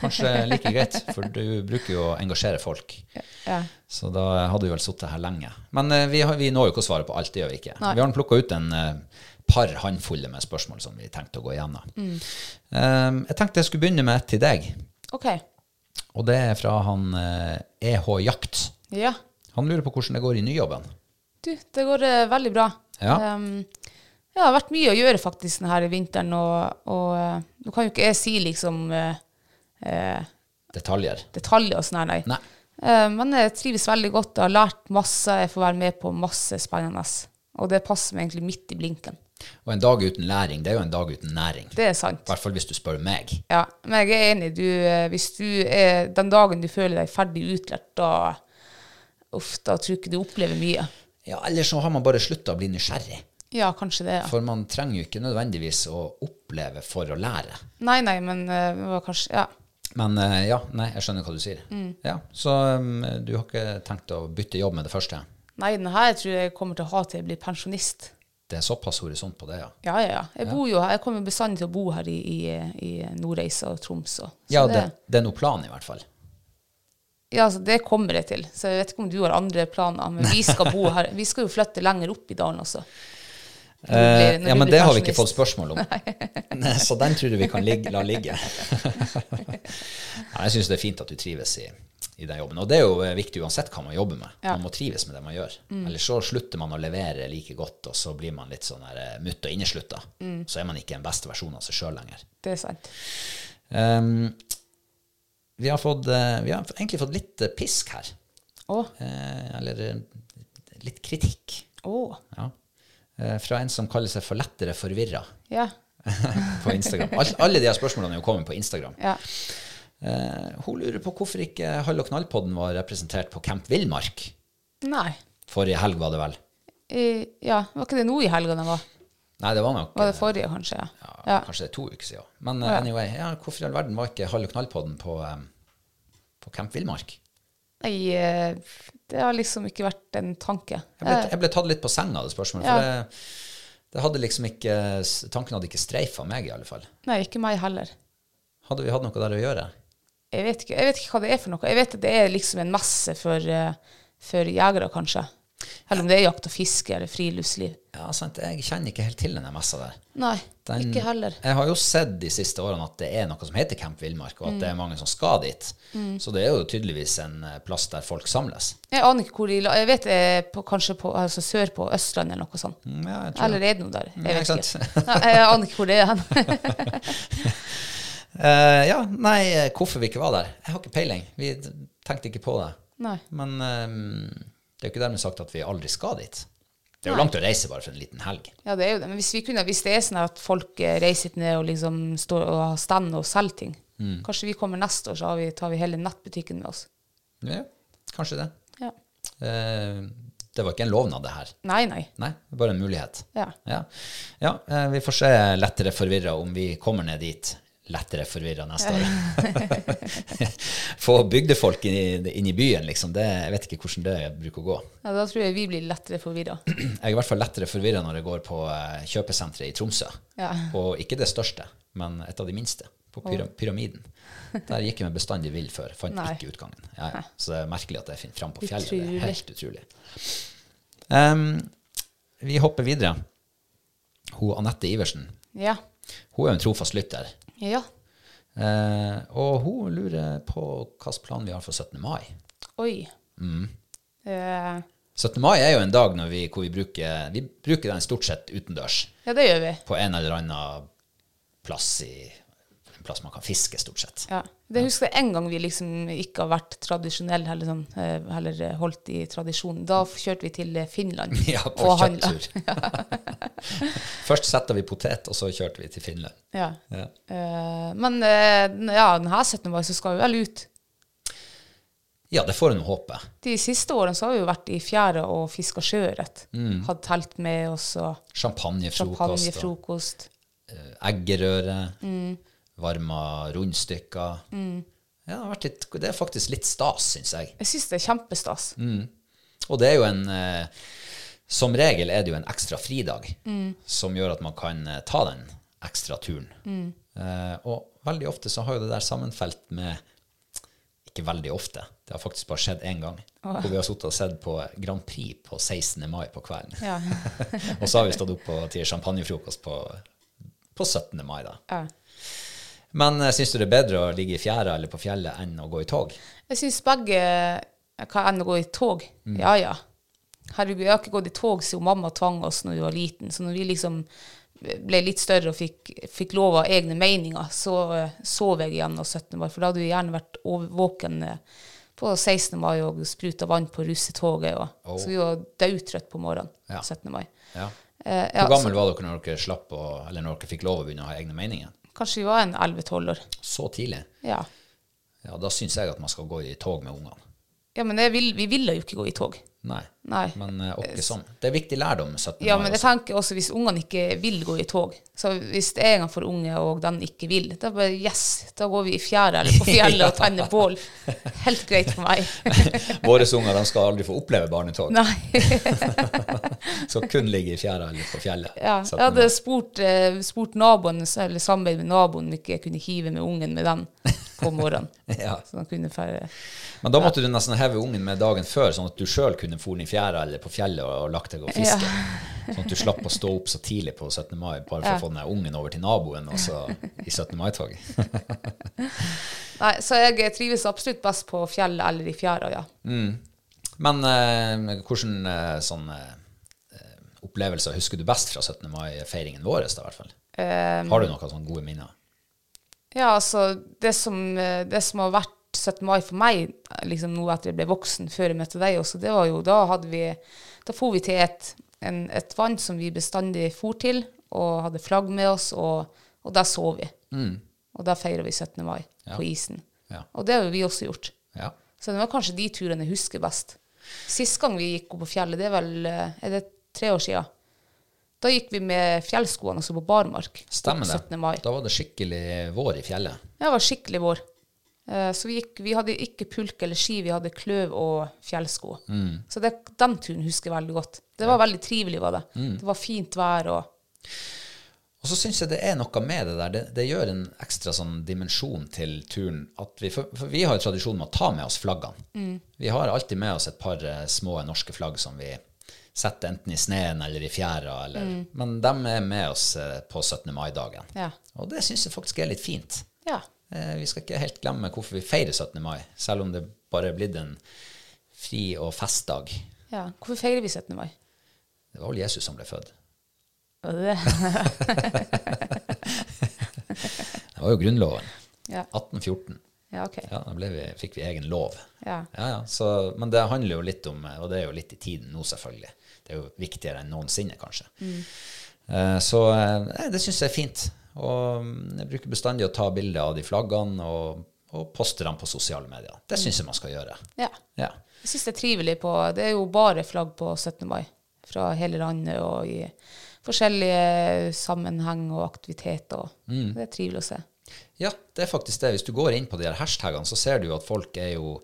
S1: Kanskje like greit, for du bruker jo å engasjere folk.
S2: ja.
S1: Så da hadde vi vel sittet her lenge. Men eh, vi, har, vi når jo ikke å svare på alt, det gjør vi ikke. Vi har plukka ut en eh, par håndfulle med spørsmål som vi tenkte å gå igjennom. Eh, jeg tenkte jeg skulle begynne med et til deg,
S2: OK.
S1: og det er fra han eh, EH Jakt.
S2: Ja.
S1: Han lurer på hvordan det går i nyjobben.
S2: Du, det går eh, veldig bra.
S1: Ja.
S2: Um, ja, det har vært mye å gjøre faktisk denne vinteren, og, og eh, nå kan jo ikke jeg si liksom eh, eh,
S1: Detaljer.
S2: detaljer og sånn her, nei.
S1: Nei.
S2: Eh, Men jeg trives veldig godt. Jeg har lært masse. Jeg får være med på masse spennende. Og det passer meg egentlig midt i blinken.
S1: Og en dag uten læring, det er jo en dag uten næring.
S2: Det er sant.
S1: I hvert fall hvis du spør meg.
S2: Ja, men jeg er enig. Du, eh, hvis du er, den dagen du føler deg ferdig utlært, da, uff, da tror jeg ikke du opplever mye.
S1: Ja, Eller så har man bare slutta å bli nysgjerrig.
S2: Ja, kanskje det. ja.
S1: For man trenger jo ikke nødvendigvis å oppleve for å lære.
S2: Nei, nei, men eh, det var kanskje Ja.
S1: Men eh, ja, nei, jeg skjønner hva du sier.
S2: Mm.
S1: Ja, Så um, du har ikke tenkt å bytte jobb med det første?
S2: Nei, den her tror jeg jeg kommer til å ha til jeg blir pensjonist.
S1: Det er såpass horisont på det, ja.
S2: Ja, ja, ja. Jeg bor jo her. Jeg kommer bestandig til å bo her i, i, i Nordreisa og Troms. Og. Så
S1: Ja, det, det er noe plan, i hvert fall.
S2: ja, så det kommer jeg til. Så jeg vet ikke om du har andre planer, men vi skal bo her. Vi skal jo flytte lenger opp i dalen også. Når du blir- når
S1: Eh, ja,
S2: du
S1: men
S2: blir
S1: det har vi ikke
S2: pensjonist.
S1: fått spørsmål om. Nei, Så den tror jeg vi kan ligge, la ligge. Nei, jeg syns det er fint at du trives i, i den jobben. Og det er jo eh, viktig uansett hva man jobber med. Man må trives med det man gjør.
S2: Mm.
S1: Eller så slutter man å levere like godt, og så blir man litt sånn der, eh, mutt og inneslutta.
S2: Mm.
S1: Så er man ikke en beste versjon av seg sjøl lenger.
S2: Det er sant.
S1: Ehm, vi, har fått, eh, vi har egentlig fått litt eh, pisk her.
S2: Å,
S1: Eh, eller eh, litt kritikk.
S2: å.
S1: Ja. Eh, Fra en som kaller seg for lettere forvirra
S2: Ja.
S1: på Instagram. Alt, alle de her spørsmålene er jo kommet på Instagram.
S2: Ja.
S1: Eh, hun lurer på hvorfor ikke Hall og knall-podden var representert på Camp Villmark.
S2: Nei.
S1: Forrige helg var det vel?
S2: Eh, ja, var ikke det nå i helga den var?
S1: Nei, det var nok
S2: Var det
S1: eh,
S2: forrige, kanskje?
S1: ja,
S2: Ja. ja.
S1: Kanskje det er to uker siden. Men eh, anyway, ja, hvorfor i all verden var ikke Hall og knall-podden på, eh, på Camp Villmark?
S2: Nei, eh, det har liksom ikke vært en tanke. Eh,
S1: Jeg ble, jeg ble tatt litt på senga av det spørsmålet. For det, det hadde liksom ikke Tanken hadde ikke streifa meg, i alle fall.
S2: Nei, ikke meg heller.
S1: Hadde vi hatt noe der å gjøre?
S2: Jeg vet, ikke, jeg vet ikke hva det er for noe. Jeg vet at det er liksom en messe for, eh, for jegere, kanskje. Eller om det er jakt og fiske eller friluftsliv.
S1: Ja, sant. Jeg kjenner ikke helt til denne messa der.
S2: Nei,
S1: Den-
S2: ikke heller.
S1: Jeg har jo sett de siste årene at det er noe som heter Camp Villmark, og at
S2: Mm.
S1: det er mange som skal dit. Så det er jo tydeligvis en eh, plass der folk samles.
S2: Jeg aner ikke hvor de la Jeg vet det er på, kanskje på, altså sør på Østlandet eller noe sånt.
S1: Mm, Ja, jeg tror
S2: Eller er det noe der?
S1: Ja,
S2: Jeg vet
S1: ikke
S2: ikke. Nei, jeg aner ikke hvor det er hen.
S1: Eh, ja, nei, eh, hvorfor vi ikke var der? Jeg har ikke peiling. Vi t- tenkte ikke på det.
S2: Nei.
S1: Men eh, det er jo ikke dermed sagt at vi aldri skal dit. Det er jo langt å reise bare for en liten helg.
S2: Ja, det er jo det. Men hvis, vi kunne, hvis det er sånn at folk eh, reiser ned og liksom står og har stand og selger ting
S1: Mm.
S2: Kanskje vi kommer neste år, så har vi, tar vi hele nettbutikken med oss.
S1: Ja, kanskje det.
S2: Ja.
S1: Eh, det var ikke en lovnad, det her.
S2: Nei, nei.
S1: Nei, det er bare en mulighet.
S2: Ja.
S1: Ja, Ja, eh, vi får se lettere forvirra om vi kommer ned dit lettere forvirra neste år. Få bygdefolk inn i, inn i byen, liksom. Det, jeg vet ikke hvordan det bruker å gå.
S2: Ja, da tror jeg vi blir lettere forvirra.
S1: Jeg er i hvert fall lettere forvirra når jeg går på eh, kjøpesenteret i Tromsø.
S2: Ja.
S1: Og ikke det største, men et av de minste. På pyra Pyramiden. Der gikk jeg meg bestandig vill før. Fant
S2: Nei.
S1: ikke utgangen. Ja, ja. Så det er merkelig at jeg finner fram på fjellet. Det
S2: Utrolig.
S1: er helt utrolig. Em, vi hopper videre. Hun Anette Iversen.
S2: Ja.
S1: Hun er jo en trofast lytter.
S2: ja.
S1: Eh, og hun lurer på hvilken plan vi har for 17. mai.
S2: Oi.
S1: Mm.
S2: Eh,
S1: 17. mai er jo en dag når vi, hvor vi bruker, vi bruker den stort sett utendørs.
S2: ja, det gjør vi.
S1: På en eller annen plass i en plass man kan fiske, stort sett.
S2: Ja. Det husker jeg en gang vi liksom ikke har vært tradisjonelle, eller, sånn, eh, heller eh, holdt i tradisjonen. Da kjørte vi til eh, Finland
S1: Ja, på
S2: og handla.
S1: kjøtttur. Først setter vi potet, og så kjørte vi til Finland.
S2: Ja.
S1: Ja.
S2: Eh, men eh, ja, denne 17. mai så skal vi vel ut.
S1: Ja, det får jeg nå håpe.
S2: De siste årene så har vi jo vært i fjæra og fiska sjøørret.
S1: Mm.
S2: Hatt telt med oss og
S1: Champagnefrokost, og
S2: champagnefrokost. Mm.
S1: eh, eggerøre, varma rundstykker. Ja, det, har vært litt, det er faktisk litt stas, syns jeg.
S2: Jeg syns det er kjempestas.
S1: Mm. Og det er jo en eh, Som regel er det jo en ekstra fridag
S2: Mm.
S1: som gjør at man kan eh, ta den ekstra turen.
S2: Mm.
S1: Eh, og veldig ofte så har jo det der sammenfelt med Ikke veldig ofte, det har faktisk bare skjedd én gang. Hvor vi har sittet og sett på Grand Prix på 16. mai på kvelden.
S2: Ja.
S1: og så har vi stått opp og til champagnefrokost på, på 17. mai, da.
S2: Ja.
S1: Men eh, syns du det er bedre å ligge i fjæra eller på fjellet enn å gå i tog?
S2: Jeg syns begge kan ende å gå i tog.
S1: Mm.
S2: Ja, ja. Herregud, jeg har ikke gått i tog siden mamma tvang oss når vi var liten. Så når vi liksom ble litt større og fikk, fikk lov av egne meninger, så eh, sov jeg igjen av 17 år. For da hadde vi gjerne vært over- våken eh, på 16. mai og spruta vann på russetoget. Og,
S1: Oh.
S2: Så vi var daudtrøtte på morgenen
S1: Ja.
S2: 17. mai.
S1: Ja.
S2: Eh, ja,
S1: Hvor gammel var dere når dere slapp å, eller når dere fikk lov å begynne å ha egne meninger?
S2: Så, kanskje vi var en 11-12 år.
S1: Så tidlig?
S2: Ja.
S1: Ja, da syns jeg at man skal gå i tog med ungene.
S2: ja, men jeg vil, vi ville jo ikke gå i tog.
S1: Nei.
S2: Nei.
S1: Men eh, åkke sånn. Det er viktig lærdom 17.
S2: Ja,
S1: mai
S2: men jeg
S1: også.
S2: tenker også hvis ungene ikke vil gå i tog, så hvis det er en gang for unge og den ikke vil, da bare yes, da går vi i fjæra eller på fjellet og tenner bål. Helt greit for meg.
S1: Våre unger de skal aldri få oppleve barnetog,
S2: Nei.
S1: så kun ligge i fjæra eller på fjellet.
S2: Ja. Jeg
S1: 17.
S2: hadde
S1: mai.
S2: spurt, eh, spurt naboen, eller samarbeidet med naboen, om ikke jeg kunne hive med ungen med den på morgenen.
S1: Ja.
S2: Så han kunne færre.
S1: Men da måtte du nesten heve ungen med dagen før, sånn at du sjøl kunne fòre i fjæra eller på fjellet og, og lagt deg og fiske. Sånn at du slapp å stå opp så tidlig på 17. mai bare for å få den der ungen over til naboen og så i 17. mai-toget.
S2: Nei, så jeg trives absolutt best på fjellet eller i fjæra, ja.
S1: Mm. Men eh, hvordan eh, sånn eh, eh, opplevelser husker du best fra 17. mai-feiringen vår, da, i hvert fall?
S2: Eh,
S1: Har du noen sånne gode minner?
S2: Ja, altså, det som, eh, det som har vært 17. mai for meg, liksom nå etter jeg ble voksen, før jeg møtte deg også, det var jo da hadde vi Da for vi til et, en, et vann som vi bestandig for til, og hadde flagg med oss, og, og der sov vi. Og der feira vi 17. mai på isen.
S1: Mm. Ja.
S2: Og det har jo vi også gjort.
S1: Ja.
S2: Så det var kanskje de turene jeg husker best. Sist gang vi gikk opp på fjellet, det er vel eh, er det tre år sia. Da gikk vi med fjellskoene også på barmark.
S1: Stemmer
S2: opp
S1: det.
S2: 17. mai.
S1: Da var det skikkelig vår i fjellet.
S2: Ja, det var skikkelig vår. Eh, Så vi, gikk, vi hadde ikke pulk eller ski, vi hadde kløv og fjellsko. Så det, den turen husker jeg veldig godt. Det var veldig trivelig, var det. Det var fint vær og
S1: Og så syns jeg det er noe med det der. Det, det gjør en ekstra sånn dimensjon til turen. At vi, for, for vi har jo tradisjon med å ta med oss flaggene. Vi har alltid med oss et par eh, små norske flagg som vi setter enten i sneen eller i fjæra. Eller, Men de er med oss eh, på 17. mai-dagen.
S2: Ja.
S1: Og det syns jeg faktisk er litt fint.
S2: Ja.
S1: Eh, Vi skal ikke helt glemme hvorfor vi feirer 17. mai, selv om det bare er blitt en fri- og festdag.
S2: ja. Hvorfor feirer vi 17. mai?
S1: Det var vel Jesus som ble født.
S2: Var det det?
S1: Det var jo grunnloven.
S2: Ja.
S1: 1814.
S2: ja, OK.
S1: Ja, da ble vi, fikk vi egen lov.
S2: Ja.
S1: Ja, ja, så, men det handler jo litt om, og det er jo litt i tiden nå selvfølgelig, det er jo viktigere enn noensinne kanskje. Eh, Så eh, nei, det synes jeg er fint. Og mm, jeg bruker bestandig å ta bilder av de flaggene og, og poste dem på sosiale medier. Det synes jeg man skal gjøre.
S2: Ja.
S1: Ja.
S2: Jeg syns det er trivelig på Det er jo bare flagg på 17. mai fra hele landet og i forskjellige sammenheng og aktiviteter. og Det er trivelig å se.
S1: Ja, det er faktisk det. Hvis du går inn på de her hashtagene, så ser du jo at folk er jo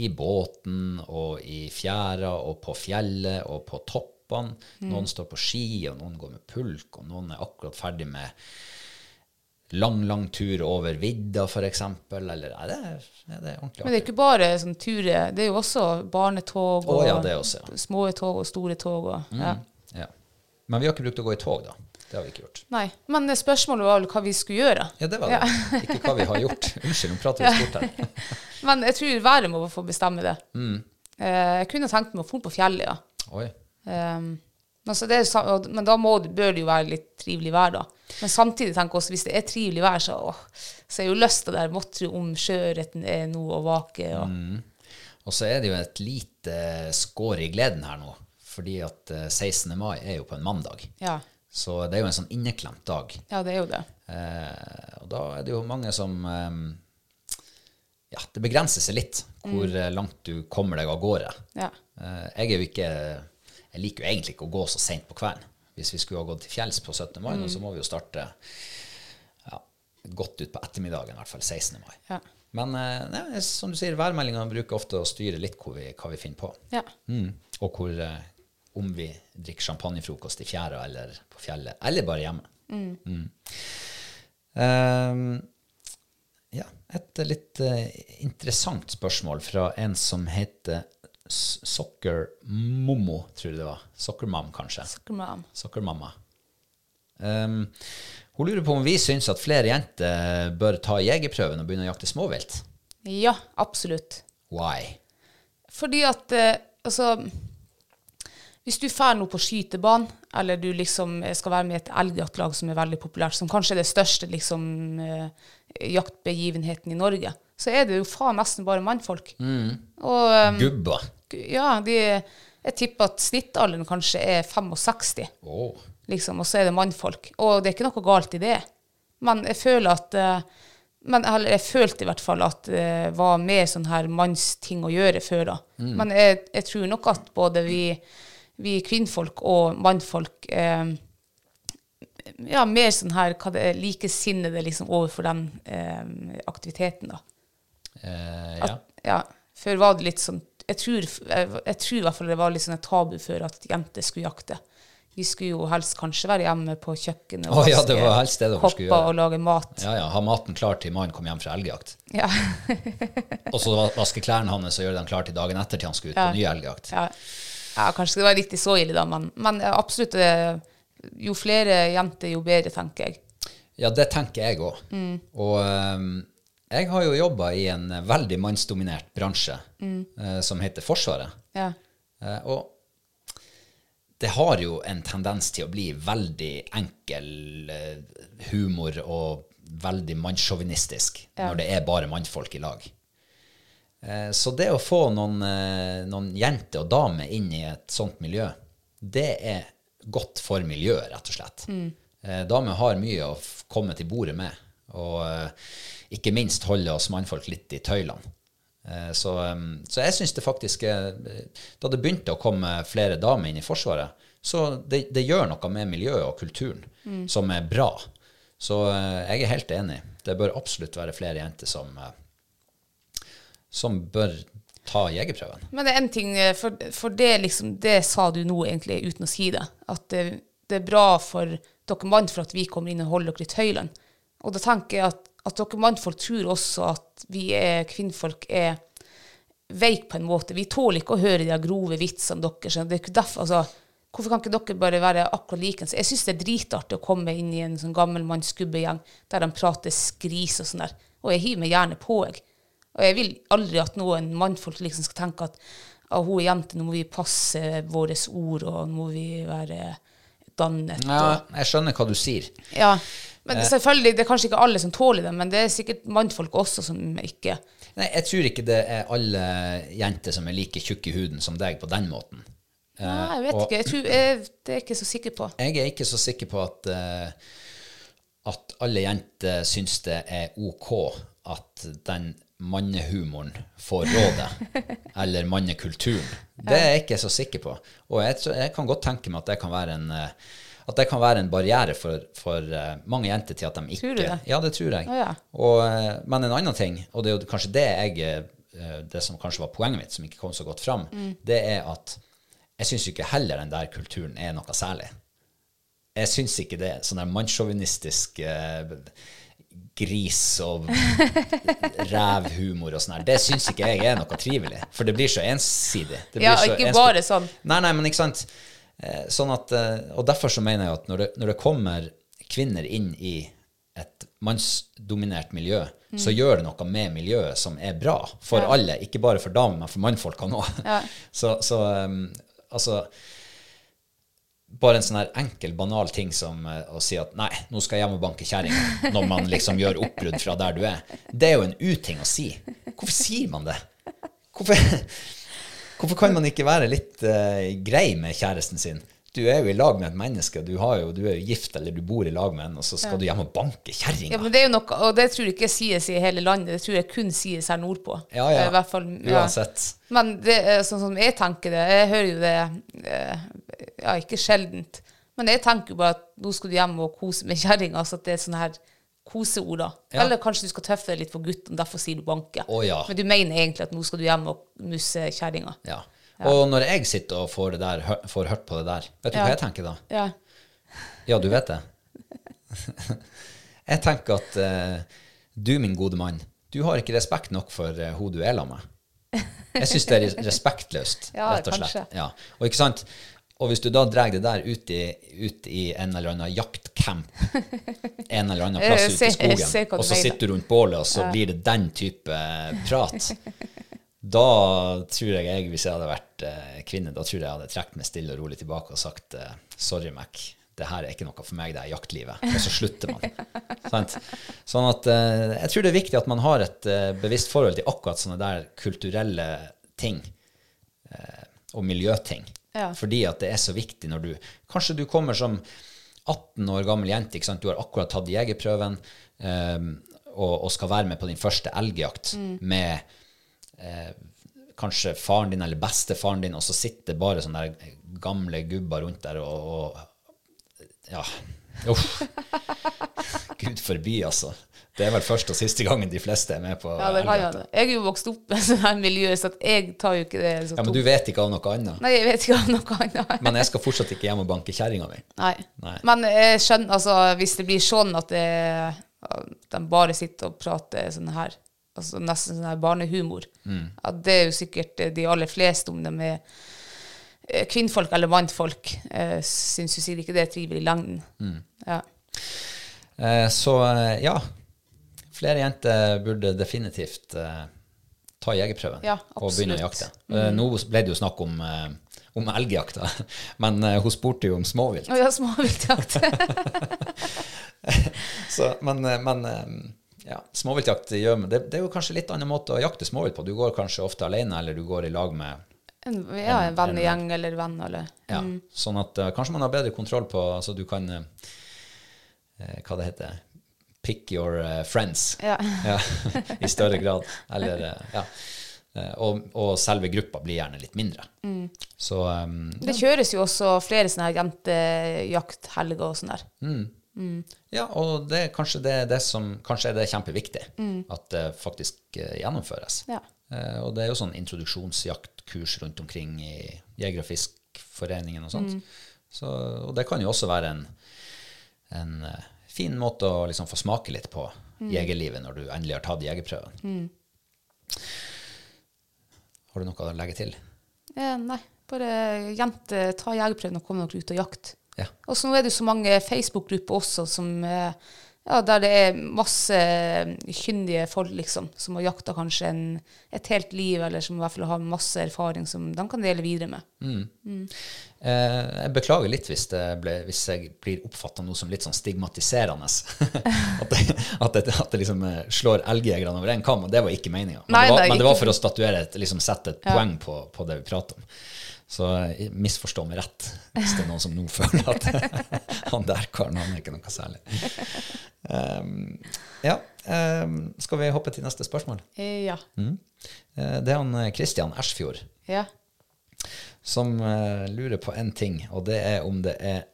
S1: i båten og i fjæra og på fjellet og på toppene.
S2: Mm.
S1: Noen står på ski, og noen går med pulk, og noen er akkurat ferdig med lang, lang tur over vidda, f.eks. Eller er det, er det ordentlig
S2: Men det er
S1: artig?
S2: ikke bare sånn turer, det er jo også barnetog og
S1: Å ja, det også, ja. Mm.
S2: små tog og store tog. Og, ja.
S1: Ja. Men vi har ikke brukt å gå i tog, da. Det har vi ikke gjort.
S2: Nei, men spørsmålet var vel hva vi skulle gjøre.
S1: Ja, det var det. Ikke hva vi har gjort. Unnskyld, nå prater vi fort her.
S2: Men jeg tror været må få bestemme det.
S1: Mm.
S2: Eh, jeg kunne tenkt meg å dra på fjellet, ja.
S1: Oi.
S2: Ehm, men, så det er, sa- og- men da må, det- bør det jo være litt trivelig vær, da. Men samtidig tenker jeg også, hvis det er trivelig vær, så, åh, så er jo lysta der. Måtte du om sjøørreten er nå og vaker? Og,
S1: Mm. Og så er det jo et lite skår i gleden her nå, fordi at eh, 16. mai er jo på en mandag.
S2: ja.
S1: Så det er jo en sånn inneklemt dag.
S2: ja, det er jo det.
S1: Eh, og da er det jo mange som eh, Ja, det begrenser seg litt hvor eh, langt du kommer deg av gårde.
S2: Ja.
S1: Eh, jeg er jo ikke Jeg liker jo egentlig ikke å gå så seint på kvelden. Hvis vi skulle ha gått til fjells på 17. mai, nå, så må vi jo starte ja, godt ut på ettermiddagen, i hvert fall 16. mai.
S2: Ja.
S1: Men eh, nei, som du sier, værmeldingene bruker ofte å styre litt hvor vi, hva vi finner på.
S2: ja.
S1: Mm. Og hvor, eh, om vi drikker champagnefrokost i fjæra eller på fjellet, eller bare hjemme. Mm. Ehm, ja, et litt eh, interessant spørsmål fra en som heter S- Soccer Mommo, tror jeg det var. Soccer Mom, kanskje.
S2: Snakker med dem.
S1: Soccer Mamma. Ehm, hun lurer på om vi syns at flere jenter bør ta jegerprøven og begynne å jakte småvilt.
S2: Ja, absolutt.
S1: Why?
S2: Fordi at eh, Altså Hvis du drar nå på skytebanen, eller du liksom skal være med i et elgjaktlag som er veldig populært, som kanskje er det største liksom eh, jaktbegivenheten i Norge, så er det jo faen nesten bare mannfolk. Og um,
S1: Gubba.
S2: ja, de Jeg tipper at snittalderen kanskje er 65,
S1: Åh.
S2: liksom, og så er det mannfolk. Og det er ikke noe galt i det. Men jeg føler at eh, men, Eller jeg følte i hvert fall at det var mer sånn her mannsting å gjøre før da. Men jeg, jeg tror nok at både vi, vi kvinnfolk og mannfolk eh, ja, mer sånn her hva det er, likesinnede liksom, overfor den eh, aktiviteten. da.
S1: Eh,
S2: At,
S1: ja.
S2: ja. Før var det litt sånn jeg tror, jeg, jeg tror i hvert fall det var litt sånn et tabu før at jenter skulle jakte. Vi skulle jo helst kanskje være hjemme på kjøkkenet og
S1: Å, ja, det var helst det dere skulle
S2: kopper
S1: gjøre.
S2: og lage mat.
S1: ja, ja. Ha maten klar til mannen kom hjem fra elgjakt.
S2: Ja.
S1: Og så va- vaske klærne hans og gjøre dem klar til dagen etter til han skulle ut på ny elgjakt.
S2: Ja. ja, kanskje det var riktig så ille, da, men, men ja, absolutt eh, Jo flere jenter, jo bedre, tenker jeg.
S1: Ja, det tenker jeg òg.
S2: Mm.
S1: Og ehm, jeg har jo jobba i en veldig mannsdominert bransje
S2: Mm.
S1: eh, som heter Forsvaret.
S2: Ja.
S1: Eh, og det har jo en tendens til å bli veldig enkel eh, humor og veldig mannssjåvinistisk når det er bare mannfolk i lag. Eh, Så det å få noen, eh, noen jenter og damer inn i et sånt miljø, det er godt for miljøet, rett og slett. Eh, Damer har mye å f- komme til bordet med, og eh, ikke minst holde oss mannfolk litt i tøylene. Eh, Så, eh, så jeg syns det faktisk eh, Da det begynte å komme flere damer inn i Forsvaret, så det, det gjør noe med miljøet og kulturen som er bra. Så eh, jeg er helt enig. Det bør absolutt være flere jenter som eh, som bør ta jegerprøven.
S2: Men det er en ting, eh, for, for det, liksom, det sa du nå egentlig uten å si det, at det, det er bra for dere mannfolk at vi kommer inn og holder dere i tøylene. Og da tenker jeg at, at dere mannfolk tror også at vi er, kvinnfolk er veik på en måte. Vi tåler ikke å høre de der grove vitsene deres. Det er ikke derfor, altså, hvorfor kan ikke dere bare være akkurat likens? Jeg syns det er dritartig å komme inn i en sånn gammel mannsgubbegjeng der de prater skris og sånn der. Og jeg hiver meg gjerne på, jeg. Og jeg vil aldri at noen mannfolk liksom skal tenke at «Å, hun er jente, nå må vi passe våre ord, og nå må vi være dannet.
S1: Ja, jeg skjønner hva du sier.
S2: Og, ja. Men selvfølgelig, det er kanskje ikke alle som tåler det, men det er sikkert mannfolk også som ikke
S1: Nei, jeg tror ikke det er alle jenter som er like tjukke i huden som deg på den måten. Eh,
S2: Nei, jeg vet
S1: og
S2: ikke. Jeg tror, jeg, det er jeg ikke så sikker på.
S1: Jeg er ikke så sikker på at, eh, at alle jenter syns det er OK at den mannehumoren får rådet, eller mannekulturen. Det er jeg ikke så sikker på. Og jeg, tror- jeg kan godt tenke meg at det kan være en eh, at det kan være en barriere for, for eh, mange jenter til at de ikke
S2: Tror du det?
S1: Ja, det tror jeg.
S2: Å, ja.
S1: og, eh, men en annen ting, og det er jo kanskje det jeg eh, det som kanskje var poenget mitt, som ikke kom så godt fram,
S2: Mm.
S1: det er at jeg syns ikke heller den der kulturen er noe særlig. Jeg syns ikke det. Sånn der mannssjåvinistisk eh, gris- og rævhumor og sånn her, det syns ikke jeg er noe trivelig. For det blir så ensidig. Det blir
S2: Ja,
S1: så
S2: ikke
S1: enspor-
S2: bare sånn.
S1: Nei, nei, men ikke sant. Eh, Sånn at, eh, og derfor så mener jeg at når det, når det kommer kvinner inn i et mannsdominert miljø,
S2: Mm.
S1: så gjør det noe med miljøet som er bra for alle, ikke bare for damer, men for mannfolkene òg. Så, så um, altså bare en sånn her enkel, banal ting som eh, å si at nei, nå skal jeg hjem og banke kjerringa, når man liksom gjør oppbrudd fra der du er. Det er jo en uting å si. Hvorfor sier man det? Hvorfor, hvorfor kan man ikke være litt eh, grei med kjæresten sin? Du er jo i lag med et menneske, du, har jo, du er jo gift eller du bor i lag med en, og så skal du hjem og banke
S2: Ja,
S1: kjerringa.
S2: men det er jo noe, og det tror jeg ikke sies i hele landet, det tror jeg kun sies her nordpå.
S1: Ja, ja.
S2: Eh, I hvert fall, ja.
S1: Uansett.
S2: Men det, er sånn som jeg tenker det, jeg hører jo det eh, ja, ikke sjeldent, men jeg tenker jo bare at nå skal du hjem og kose med kjerringa, så at det er sånne her koseord da.
S1: Ja.
S2: Eller kanskje du skal tøffe deg litt for gutten, derfor sier du banke.
S1: Å, ja.
S2: Men du mener egentlig at nå skal du hjem og musse kjerringa.
S1: Ja. Og når jeg sitter og får, det der, hø- får hørt på det der, vet du
S2: Ja.
S1: hva jeg tenker da?
S2: Ja.
S1: Ja, du vet det. Jeg tenker at eh, du, min gode mann, du har ikke respekt nok for uh, hun du er sammen med. Jeg syns det er res- respektløst,
S2: Ja,
S1: rett og slett.
S2: kanskje.
S1: Ja. Og, ikke sant? og hvis du da drar det der ut i, ut i en eller annen jaktcamp en eller annen plass ute
S2: Jeg
S1: i
S2: ser- jeg ser
S1: skogen,
S2: hva du
S1: og så
S2: mener.
S1: sitter du rundt bålet, og så blir det den type prat, da tror jeg jeg, hvis jeg hadde vært eh, kvinne, da tror jeg jeg hadde trukket meg stille og rolig tilbake og sagt eh, sorry, Mac, det her er ikke noe for meg, det er jaktlivet. Og så slutter man. Sant? Sånn at eh, jeg tror det er viktig at man har et eh, bevisst forhold til akkurat sånne der kulturelle ting eh, og miljøting.
S2: Ja.
S1: Fordi at det er så viktig når du Kanskje du kommer som 18 år gammel jente, ikke sant? du har akkurat tatt jegerprøven eh, og, og skal være med på din første elgjakt
S2: Mm.
S1: med eh, kanskje faren din eller bestefaren din, og så sitter det bare sånne der gamle gubber rundt der og, og Ja. Uff. Gud forby, altså. Det er vel første og siste gangen de fleste er med på
S2: Ja, det kan
S1: elgjakt.
S2: jeg. Jeg er jo vokst opp med sånn her miljø, så at jeg tar jo ikke det så
S1: Ja, men
S2: tungt.
S1: du vet ikke av noe annet.
S2: Nei, jeg vet ikke om noe annet.
S1: Men jeg skal fortsatt ikke hjem og banke kjerringa mi.
S2: Nei.
S1: Nei.
S2: Men jeg skjønner, altså, hvis det blir sånn at, det, at de bare sitter og prater sånn her, altså nesten sånn her barnehumor, at det er jo sikkert eh, de aller fleste, om de er eh, kvinnfolk eller mannfolk, eh, syns jo sikkert ikke det triver i lengden. Ja.
S1: Eh, Så eh, ja, flere jenter burde definitivt eh, ta jegerprøven
S2: Ja,
S1: og begynne å jakte.
S2: absolutt. Mm.
S1: Eh, Nå ble det jo snakk om, eh, om elgjakta, men eh, hun spurte jo om småvilt.
S2: Og ja, småviltjakt.
S1: Så, men eh, men eh, ja, småviltjakt gjør det, det er jo kanskje litt annen måte å jakte småvilt på. Du går kanskje ofte alene, eller du går i lag med
S2: En, ja, en vennegjeng eller venn eller
S1: ja, Sånn at eh, kanskje man har bedre kontroll på Altså du kan eh, eh, Hva det heter Pick your eh, friends.
S2: Ja.
S1: I større grad. Eller eh, Ja. Eh, og, og selve gruppa blir gjerne litt mindre. Så eh,
S2: Det kjøres jo også flere sånne her jentejakthelger og sånn der.
S1: Ja, og det, er kanskje det, er det som kanskje er det kjempeviktig, at det faktisk eh, gjennomføres.
S2: Ja.
S1: Eh, og det er jo sånn introduksjonsjaktkurs rundt omkring i Jeger- og fiskforeningen og sånt. Så, og det kan jo også være en, en eh, fin måte å liksom få smake litt på jegerlivet når du endelig har tatt jegerprøven. Har du noe å legge til?
S2: Eh, nei, bare jente, ta jegerprøven og kom dere ut og jakt.
S1: Ja.
S2: Og så nå er det jo så mange Facebook-grupper også som, eh, ja, der det er masse eh, kyndige folk liksom, som har jakta kanskje en, et helt liv, eller som i hvert fall har masse erfaring som de kan dele videre med.
S1: Mm.
S2: Mm.
S1: Eh, jeg beklager litt hvis, det ble, hvis jeg blir oppfatta noe som litt sånn stigmatiserende. at, det, at, det, at det liksom eh, slår elgjegerne over én kam, og det var ikke meninga. Men,
S2: Nei,
S1: det var-
S2: nei,
S1: men det var
S2: ikke-
S1: for å statuere et, liksom sette et poeng på, på det vi prater om. Så eh, misforstå meg rett, hvis det er noen som nå føler at han der karen han er ikke noe særlig. Um, ja, um, skal vi hoppe til neste spørsmål?
S2: Eh, ja.
S1: Eh, det er han eh, Christian Ersfjord
S2: ja.
S1: som eh, lurer på en ting, og det er om det er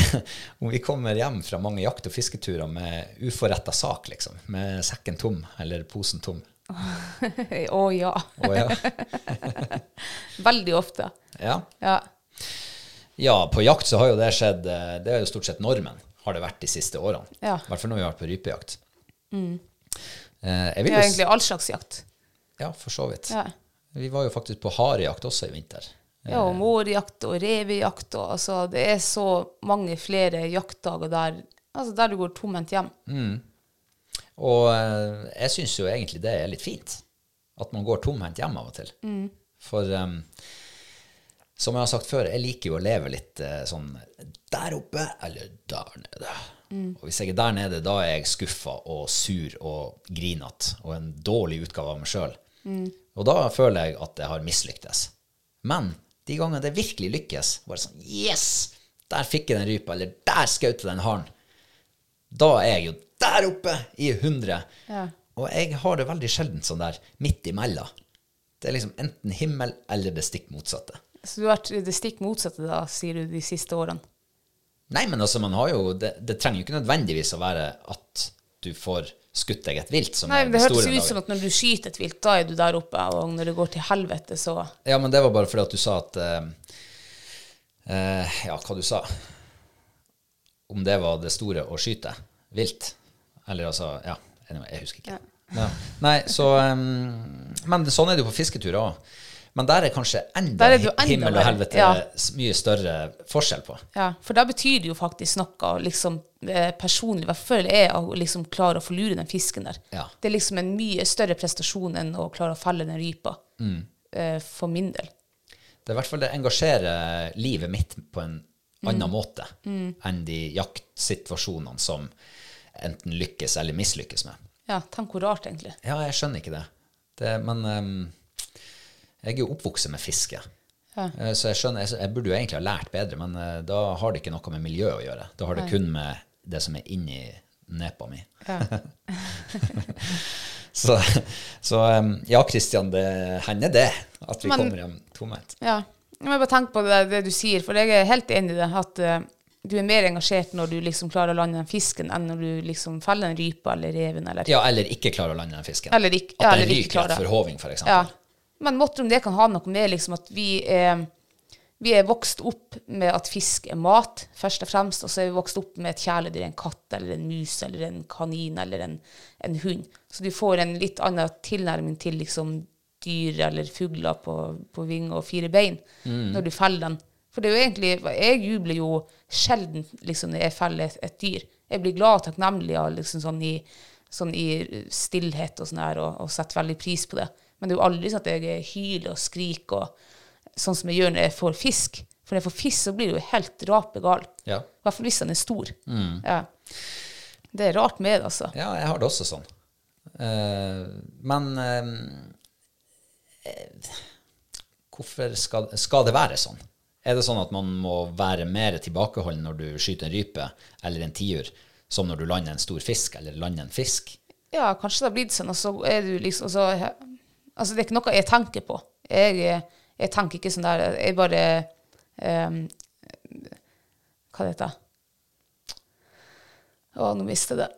S1: Om vi kommer hjem fra mange jakt- og fisketurer med uforretta sak, liksom. Med sekken tom, eller posen tom.
S2: Å ja.
S1: Og ja,
S2: Veldig ofte.
S1: ja.
S2: Ja.
S1: ja, på jakt så har jo det skjedd eh, Det er jo stort sett normen, har det vært de siste årene.
S2: Ja. Mm.
S1: I hvert fall når vi har vært på rypejakt. Eh, jeg
S2: Det
S1: vil
S2: er
S1: jo
S2: egentlig all slags jakt.
S1: s- Ja, for så vidt.
S2: Ja.
S1: Vi var jo faktisk på harejakt også i vinter.
S2: Ja, og mårjakt og revejakt og altså Det er så mange flere jaktdager der, altså, der du går tomhendt hjem.
S1: Og eh, jeg syns jo egentlig det er litt fint. At man går tomhendt hjem av og til.
S2: Mm.
S1: For eh, em, som jeg har sagt før, jeg liker jo å leve litt eh, sånn der oppe eller der nede. Og hvis jeg er der nede, da er jeg skuffa og sur og grinete og en dårlig utgave av meg sjøl. Og da føler jeg at jeg har mislyktes. Men de gangene det virkelig lykkes, bare sånn Yes! Der fikk jeg den rypa, eller der skjøt jeg den haren. Da er jeg jo der oppe i 100.
S2: Ja.
S1: Og jeg har det veldig sjelden sånn der midt imellom. Det er liksom enten himmel eller det stikk motsatte.
S2: Så du har vært det stikk motsatte, da, sier du, de siste årene.
S1: Nei, men altså, man har jo Det, det trenger jo ikke nødvendigvis å være at du får skutt deg et vilt. Som
S2: Nei,
S1: er
S2: men Det
S1: store
S2: hørtes jo ut
S1: dagen.
S2: som at når du skyter et vilt, da er du der oppe, og når det går til helvete, så
S1: Ja, men det var bare fordi at du sa at eh, eh, Ja, hva du sa? Om det var det store å skyte vilt? Eller altså Ja, anyway, jeg husker ikke. Ja. Nei, så eh, Men sånn er det jo på fisketurer òg. Men der er kanskje enda,
S2: Der er det jo enda
S1: himmel og
S2: verre.
S1: helvete
S2: Ja.
S1: s- mye større forskjell på.
S2: Ja, for da betyr det jo faktisk noe liksom, eh, personlig, i hvert fall jeg, å liksom klare å få lure den fisken der.
S1: Ja.
S2: Det er liksom en mye større prestasjon enn å klare å felle den rypa, eh, for min del.
S1: Det er i hvert fall det engasjerer livet mitt på en annen måte enn de jaktsituasjonene som enten lykkes eller mislykkes med.
S2: Ja, tenk hvor rart, egentlig.
S1: Ja, jeg skjønner ikke det. det men ehm, jeg er jo oppvokst med fiske. Eh, Så jeg skjønner, jeg, jeg burde jo egentlig ha lært bedre, men eh, da har det ikke noe med miljø å gjøre. Da har det kun med det som er inni nepa mi. så så ehm, ja, Kristian, det hender det at vi
S2: Men-
S1: kommer hjem tomhendt.
S2: Ja. Jeg må bare tenke på det, det du sier, for jeg er helt enig i det. At eh, du er mer engasjert når du liksom klarer å lande den fisken, enn når du liksom feller en rype eller reven eller
S1: Ja, eller ikke klarer å lande den fisken.
S2: Eller ikke-
S1: at
S2: ja,
S1: den
S2: eller ikke
S1: ryker
S2: klarer.
S1: for hoving, for eksempel.
S2: Ja. Men måtte om det kan ha noe med liksom at vi er, vi er vokst opp med at fisk er mat, først og fremst, og så er vi vokst opp med et kjæledyr, en katt eller en mus eller en kanin eller en, en hund. Så du får en litt annen tilnærming til liksom dyr eller fugler på, på vinger og fire bein når du feller den. For det er jo egentlig, jeg jubler jo sjelden liksom, når jeg feller et, et dyr. Jeg blir glad og takknemlig av liksom sånn i sånn i stillhet og sånn her, og, og setter veldig pris på det. Men det er jo aldri sånn at jeg hyler og skriker, og sånn som jeg gjør når jeg får fisk. For når jeg får fisk, så blir det jo helt rapegal.
S1: Ja. Mm.
S2: I hvert fall hvis den er stor. Ja. Det er rart med det, altså.
S1: Ja, jeg har det også sånn. Eh, men eh, eh, hvorfor skal, skal det være sånn? Er det sånn at man må være mer tilbakeholden når du skyter en rype eller en tiur, som når du lander en stor fisk eller lander en fisk?
S2: Ja, kanskje det har blitt sånn, og så er du liksom og så, Altså, det er ikke noe jeg tenker på. Jeg, jeg tenker ikke sånn der Jeg bare um, Hva det heter det? Å, nå mistet jeg det.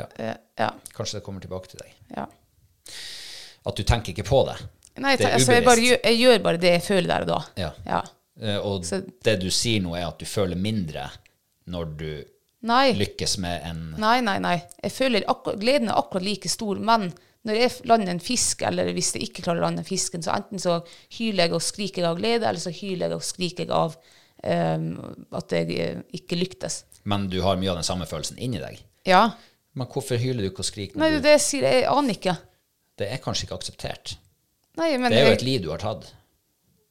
S1: Ja,
S2: Eh, Ja.
S1: kanskje det kommer tilbake til deg.
S2: ja.
S1: At du tenker ikke på det.
S2: Nei,
S1: det er
S2: altså, jeg, bare
S1: ubevisst.
S2: gjør, jeg gjør bare det jeg føler der og da.
S1: Ja. Eh, og
S2: Så-
S1: det du sier nå, er at du føler mindre når du
S2: Nei.
S1: lykkes med en
S2: nei, nei, nei. Jeg føler akkur gleden er akkurat like stor, men når jeg f- lander en fisk, eller hvis jeg ikke klarer å lande fisken, så enten så hyler jeg og skriker jeg av glede, eller så hyler jeg og skriker jeg av ehm, at jeg eh, ikke lyktes.
S1: Men du har mye av den samme følelsen inni deg.
S2: Ja.
S1: Men hvorfor hyler du ikke og skriker?
S2: Nei,
S1: når du-
S2: det er det jeg sier. Jeg aner ikke.
S1: Det er kanskje ikke akseptert.
S2: Nei, men
S1: Det er jo
S2: jeg-
S1: et liv du har tatt.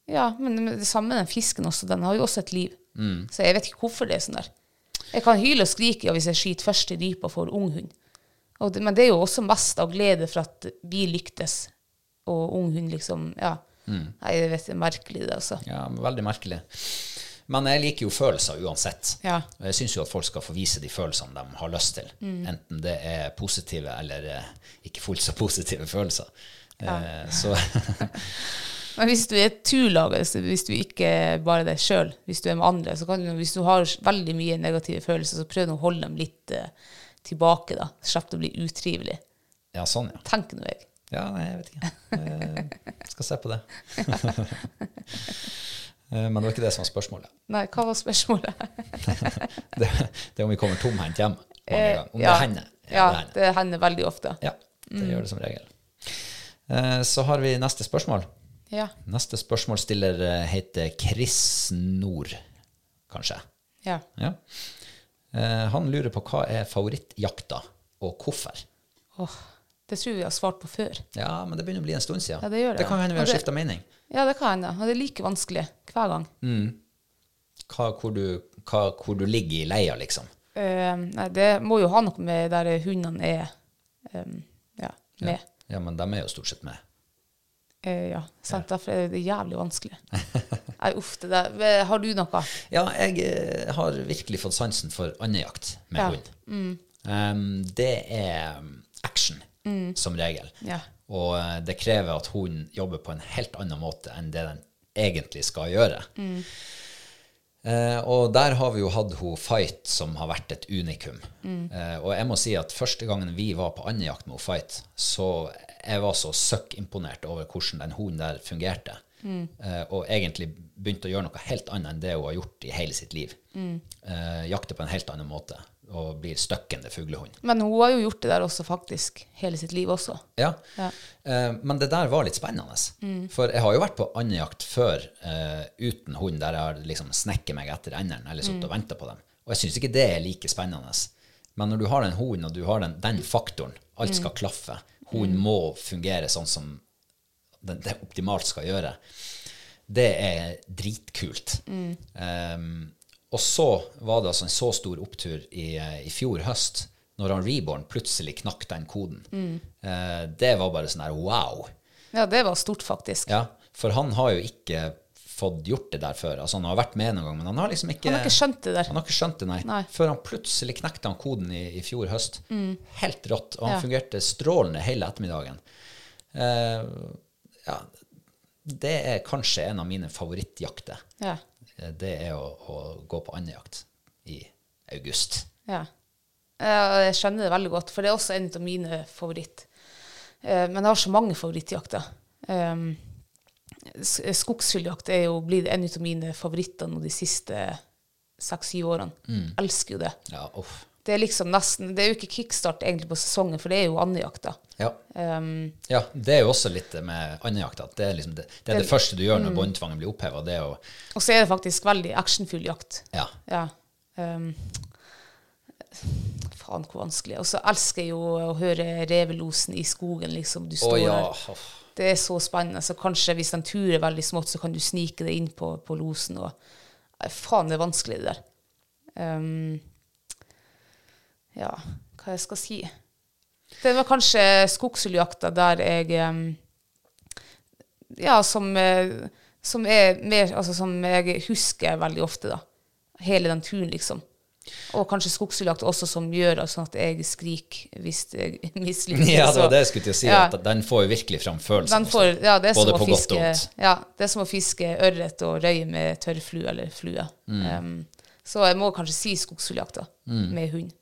S2: Ja, men det samme den fisken også, den har jo også et liv. Så jeg vet ikke hvorfor det er sånn der. Jeg kan hyle og skrike ja, hvis jeg skyter første rypa for unghund. Og det- Men det er jo også mest av glede for at vi lyktes, og unghund liksom Ja. Nei, jeg vet, det er merkelig, det, altså.
S1: Ja, Veldig merkelig. Men jeg liker jo følelser uansett.
S2: Ja.
S1: Og jeg syns jo at folk skal få vise de følelsene de har lyst til.
S2: Mm.
S1: Enten det er positive eller eh, ikke fullt så positive følelser. Eh, så
S2: Men hvis du er et turlag, altså, hvis du ikke er bare deg sjøl, hvis du er med andre, så kan du, hvis du har veldig mye negative følelser, så prøv nå å holde dem litt eh, tilbake, da. Slipp å bli utrivelig.
S1: ja, sånn, ja.
S2: Tenker nå jeg.
S1: Ja, nei, jeg vet ikke. Eh, skal se på det. Eh, Men det var ikke det som var spørsmålet.
S2: Nei, hva var spørsmålet?
S1: Det, det er om vi kommer tomhendt hjem mange
S2: Eh,
S1: ganger. Om
S2: ja.
S1: det hender.
S2: Ja,
S1: det hender.
S2: det hender veldig ofte.
S1: Ja,
S2: Mm.
S1: det gjør det som regel. Eh, Så har vi neste spørsmål.
S2: Ja.
S1: Neste spørsmålsstiller eh, heter Chris Nord, kanskje.
S2: ja.
S1: Ja. Eh, Han lurer på hva er favorittjakta, og hvorfor.
S2: Åh, det tror jeg vi har svart på før.
S1: Ja, men det begynner å bli en stund siden.
S2: Ja, det gjør det,
S1: kan
S2: ja.
S1: hende vi har
S2: Ja, det-
S1: skifta mening.
S2: Ja, det kan hende. Og det er like vanskelig hver gang.
S1: Hva, hvor, du, hva, hvor du ligger i leia, liksom.
S2: Eh, nei, det må jo ha noe med der hundene er eh, ja, med. Ja.
S1: Ja, men de er jo stort sett med.
S2: ja, sant? Derfor er det jævlig vanskelig. Nei, uff, det der. Ve- Har du noe?
S1: Ja, jeg eh, har virkelig fått sansen for andejakt med
S2: Ja. Mm.
S1: hund. Um, det er um, action,
S2: Mm.
S1: som regel.
S2: Ja.
S1: Og eh, det krever at hunden jobber på en helt annen måte enn det den egentlig skal gjøre. Eh, og der har vi jo hatt hun Fight, som har vært et unikum. Eh, og jeg må si at første gangen vi var på andejakt med hun Fight, så jeg var så søkkimponert over hvordan den hunden der fungerte. Eh, og egentlig begynte å gjøre noe helt annet enn det hun har gjort i hele sitt liv. Eh, jakter på en helt annen måte og blir støkkende fuglehund.
S2: Men hun har jo gjort det der også, faktisk. Hele sitt liv også.
S1: Ja.
S2: Ja.
S1: Eh, men det der var litt spennende. For jeg har jo vært på andejakt før eh, uten hund, der jeg har liksom snekket meg etter endene eller sittet og venta på dem. Og jeg syns ikke det er like spennende. Men når du har en hund, og du har den, den faktoren, alt skal klaffe, hunden må fungere sånn som den, det optimalt skal gjøre, det er dritkult. Ehm, Eh, og så var det altså en så stor opptur i, i fjor høst når han Reborn plutselig knakk den koden. Eh, det var bare sånn her wow.
S2: Ja, det var stort, faktisk.
S1: Ja, for han har jo ikke fått gjort det der før. Altså, han har vært med noen gang, men han har liksom ikke
S2: Han har ikke skjønt det der.
S1: Han har ikke skjønt det, nei.
S2: Nei. Mm.
S1: Før han plutselig knekte han koden i, i fjor høst. Helt rått. Og han
S2: Ja.
S1: fungerte strålende hele ettermiddagen. Eh, ja, det er kanskje en av mine favorittjakter.
S2: Ja.
S1: Eh, Det er å, å gå på andejakt i august.
S2: Ja. Eh, Jeg skjønner det veldig godt, for det er også en av mine favoritt. Eh, Men jeg har så mange favorittjakter. Um, s- Skogsfugljakt er jo blitt en av mine favoritter nå de siste seks-syv årene.
S1: Mm.
S2: Elsker jo det.
S1: Ja, uff.
S2: Det er liksom nesten, det er jo ikke kickstart egentlig på sesongen, for det er jo andejakta.
S1: Ja.
S2: Um,
S1: ja, det er jo også litt det med andejakt. at Det er liksom det, det, er Mm. det første du gjør når båndtvangen blir oppheva. Det er å
S2: og så er det faktisk veldig actionfull jakt.
S1: Ja.
S2: Ja. Um, faen, hvor vanskelig. Og så elsker jeg jo å høre revelosen i skogen, liksom. Du
S1: Å
S2: står
S1: ja.
S2: der.
S1: uff.
S2: Det er så spennende. Så kanskje hvis de turer veldig smått, så kan du snike deg inn på, på losen. Og, Nei, faen, det er vanskelig, det der. Ehm, ja, hva jeg skal si Det var kanskje skogsfugljakta der jeg ehm, Ja, som, eh, som er mer Altså som jeg husker veldig ofte, da. Hele den turen, liksom. Og kanskje skogsfugljakta også som gjør at- sånn at jeg skriker hvis jeg mislykkes.
S1: Ja, det
S2: og-
S1: var det jeg skulle til å si.
S2: Ja.
S1: At den får jo virkelig fram følelsen.
S2: Den får, ja, det er
S1: Sånn, Både på
S2: som å
S1: godt og
S2: fiske,
S1: vondt.
S2: Ja, det er som å fiske ørret og røye med tørr flue eller flue.
S1: Mm.
S2: Um, så jeg må kanskje si skogsfugljakt da, med hund.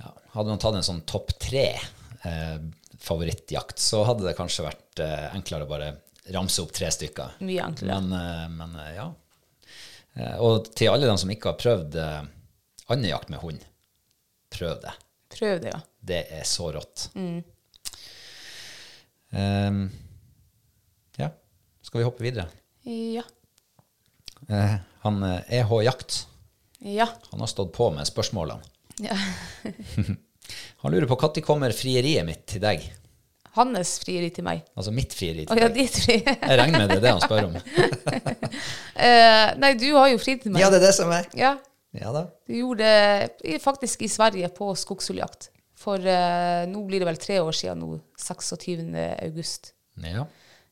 S1: Ja. Hadde man tatt en sånn topp tre eh, favorittjakt, så hadde det kanskje vært eh, enklere å bare ramse opp tre stykker.
S2: Mye enklere.
S1: Men, eh, men eh, ja. Eh, og til alle dem som ikke har prøvd eh, andejakt med hund, prøv det.
S2: Prøv det, ja.
S1: Det er så rått.
S2: Mm.
S1: Eh, ja. Skal vi hoppe videre?
S2: Ja.
S1: Eh, han eh, EH Jakt
S2: Ja.
S1: han har stått på med spørsmålene.
S2: ja.
S1: Han lurer på når kommer frieriet mitt til deg?
S2: Hannes frieri til meg.
S1: Altså mitt frieri
S2: Å
S1: til
S2: ja,
S1: deg.
S2: ditt fri.
S1: Jeg regner med det er det han spør om.
S2: Eh, nei, du har jo fri til meg.
S1: Ja, det er det som er.
S2: Ja,
S1: Ja da.
S2: du gjorde det i- faktisk i Sverige på skogsfugljakt. For eh, nå blir det vel tre år siden nå, 26. august.
S1: Ja.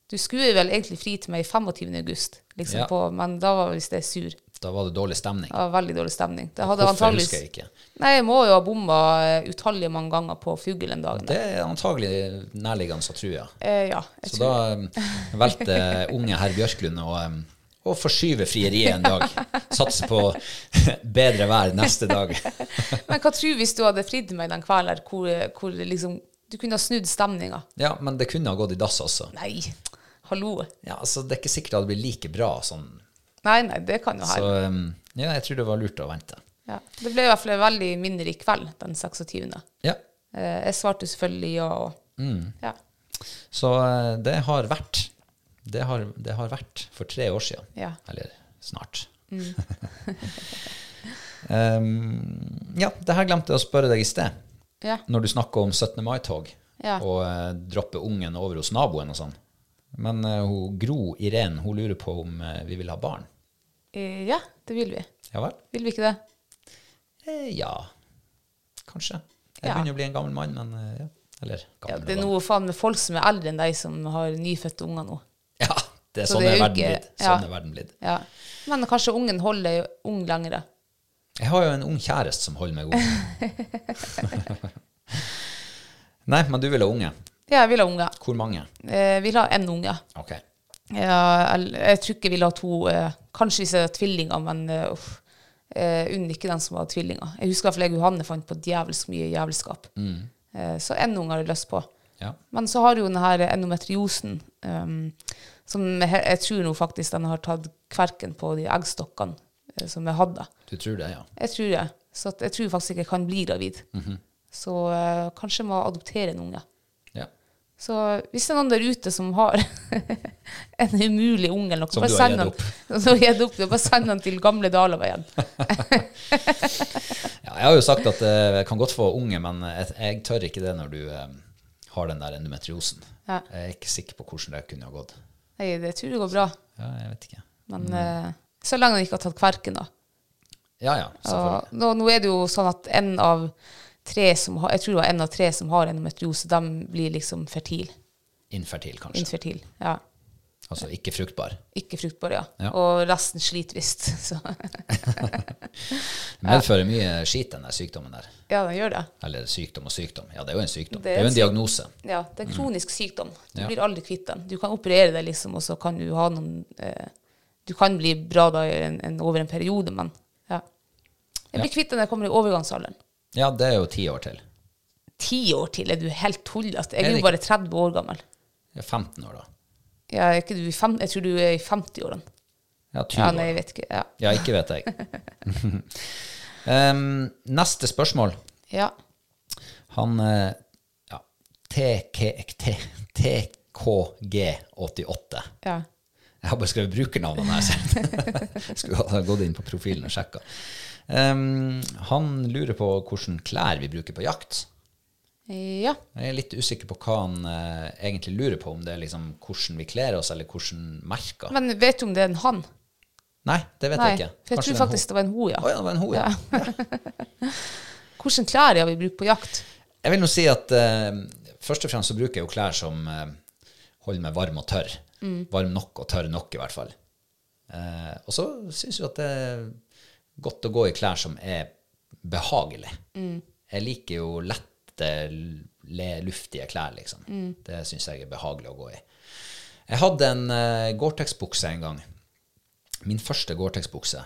S2: Du skulle vel egentlig fri til meg 25. august, liksom
S1: Ja.
S2: på, men da var visst det sur.
S1: Da var det dårlig stemning.
S2: Det var veldig dårlig stemning. Det hadde
S1: Hvorfor
S2: antageligvis-
S1: husker jeg ikke?
S2: Nei, jeg må jo ha bomma eh, utallige mange ganger på fugl en dag.
S1: Det er antagelig nærliggende å tro, ja.
S2: Eh, ja, jeg
S1: Så
S2: tror.
S1: da um, valgte eh, unge herr Bjørklund å, um, å forskyve frieriet en dag. Satse på bedre vær neste dag.
S2: Men hva tror du hvis du hadde fridd meg den kvelden her, hvor, hvor liksom, du kunne ha snudd stemninga?
S1: Ja, men det kunne ha gått i dass også.
S2: Nei, hallo.
S1: Ja, altså, Det er ikke sikkert det hadde blitt like bra sånn.
S2: Nei, nei, det kan jo
S1: Så
S2: hende.
S1: um, ja, jeg tror det var lurt å vente.
S2: Ja. Det ble i hvert fall en veldig minnerik kveld den 26.
S1: Ja,
S2: Eh, jeg svarte selvfølgelig ja. Og,
S1: Mm.
S2: ja.
S1: Så eh, det har vært. Det har, det har vært for tre år siden.
S2: Ja. Mm.
S1: Eller snart. um, ja, det her glemte jeg å spørre deg i sted.
S2: Ja.
S1: Når du snakker om 17. mai-tog
S2: Ja.
S1: og eh, droppe ungen over hos naboen og sånn. Men eh, hun, Gro Irene hun lurer på om eh, vi vil ha barn.
S2: Eh, ja, det vil vi.
S1: Ja vel?
S2: Vil vi ikke det?
S1: Eh, ja, kanskje. Jeg
S2: Ja.
S1: begynner å bli en gammel mann, men eh, ja. Eller
S2: Ja,
S1: gammel
S2: det er
S1: og gammel.
S2: noe faen med folk som er eldre enn deg, som har nyfødte unger nå.
S1: Ja, det er
S2: Så
S1: sånn er
S2: det er jo
S1: verden
S2: ikke-
S1: blitt.
S2: ja.
S1: Sånn er verden blitt.
S2: Ja. Men kanskje ungen holder jo ung lengre.
S1: Jeg har jo en ung kjæreste som holder meg ung. Nei, men du vil ha unge.
S2: Ja, jeg vil ha unge.
S1: Hvor mange?
S2: Eh, vil ha én unge.
S1: Ok.
S2: Ja, jeg, jeg tror ikke jeg vil ha to. Eh, kanskje hvis jeg har tvillinger, men eh, uff. Eh, unn ikke den som har tvillinger. Jeg husker i hvert fall jeg og Johanne fant på djevelsk mye jævelskap. Eh, så én unge har jeg lyst på.
S1: Ja.
S2: Men så har jo den her endometriosen, ehm, som jeg, jeg tror nå faktisk den har tatt kverken på de eggstokkene eh, som jeg hadde.
S1: Du tror det, ja.
S2: Jeg tror det. Så at jeg tror faktisk ikke jeg kan bli gravid.
S1: Mhm.
S2: Så eh, kanskje jeg må adoptere en unge.
S1: ja.
S2: Så hvis det er noen der ute som har en umulig unge eller noe,
S1: Som
S2: bare
S1: du har
S2: send
S1: gitt
S2: den-
S1: opp.
S2: Som du har gitt opp. ja, Bare send den til gamle Dalaveien.
S1: ja. Jeg har jo sagt at eh, jeg kan godt få unge, men jeg, jeg tør ikke det når du eh, har den der endometriosen.
S2: Ja.
S1: Jeg er ikke sikker på hvordan det kunne ha gått.
S2: Nei, det tror jeg går bra.
S1: Ja, jeg vet ikke.
S2: Men eh, så lenge den ikke har tatt kverken, da.
S1: Ja, ja. selvfølgelig.
S2: Og nå, nå er det jo sånn at en av tre som har, jeg tror det var en av tre som har endometriose, de blir liksom fertile.
S1: Infertil, kanskje.
S2: Infertil. Ja.
S1: Altså ikke fruktbar.
S2: Ikke fruktbare, ja.
S1: Ja.
S2: Og resten sliter visst. Så
S1: Det medfører mye skit, den der sykdommen der.
S2: ja, de gjør det.
S1: Eller sykdom og sykdom. Ja, det er jo en sykdom.
S2: Det
S1: Det
S2: er
S1: er jo
S2: en
S1: en diagnose.
S2: Ja, det er kronisk sykdom. Du
S1: Ja.
S2: blir aldri kvitt den. Du kan operere deg, liksom, og så kan du ha noen eh, Du kan bli bra da i en, en, over en periode, men ja. Jeg blir
S1: Ja.
S2: kvitt den når jeg kommer i overgangsalderen.
S1: Ja, det er jo ti år til.
S2: Ti år til er du helt tullete.
S1: Er
S2: Jeg er
S1: det
S2: jo bare 30 år gammel.
S1: Ja, 15 år, da.
S2: Ja, er ikke du i fem, jeg tror du er i 50-årene.
S1: Ja, 20
S2: Ja,
S1: år.
S2: nei, jeg vet ikke. Ja.
S1: Ja, ikke vet jeg. Em, neste spørsmål.
S2: ja.
S1: Han eh, ja, TK T- TKG88.
S2: ja.
S1: Jeg har bare skrevet brukernavnene her. så jeg Skulle ha gått inn på profilen og sjekka. Em, han lurer på hvilke klær vi bruker på jakt.
S2: Ja.
S1: Jeg er litt usikker på hva han eh, egentlig lurer på, om det er liksom hvordan vi kler oss, eller hvordan merker.
S2: Men vet du om det er en han?
S1: Nei, det vet
S2: Nei.
S1: jeg ikke.
S2: For jeg
S1: Kanskje
S2: tror
S1: det er en
S2: faktisk
S1: ho.
S2: det var en ho, ja.
S1: Å ja, det var en ho, ja.
S2: Hvilke klær har vi brukt på jakt?
S1: Jeg vil nå si at eh, først og fremst så bruker jeg jo klær som eh, holder meg varm og tørr. Varm nok og tørr nok, i hvert fall. Eh, og så syns jeg at det er godt å gå i klær som er behagelige. Jeg liker jo lette, le- luftige klær, liksom. Det syns jeg er behagelig å gå i. Jeg hadde en eh, Gore-Tex-bukse en gang. Min første Gore-Tex-bukse.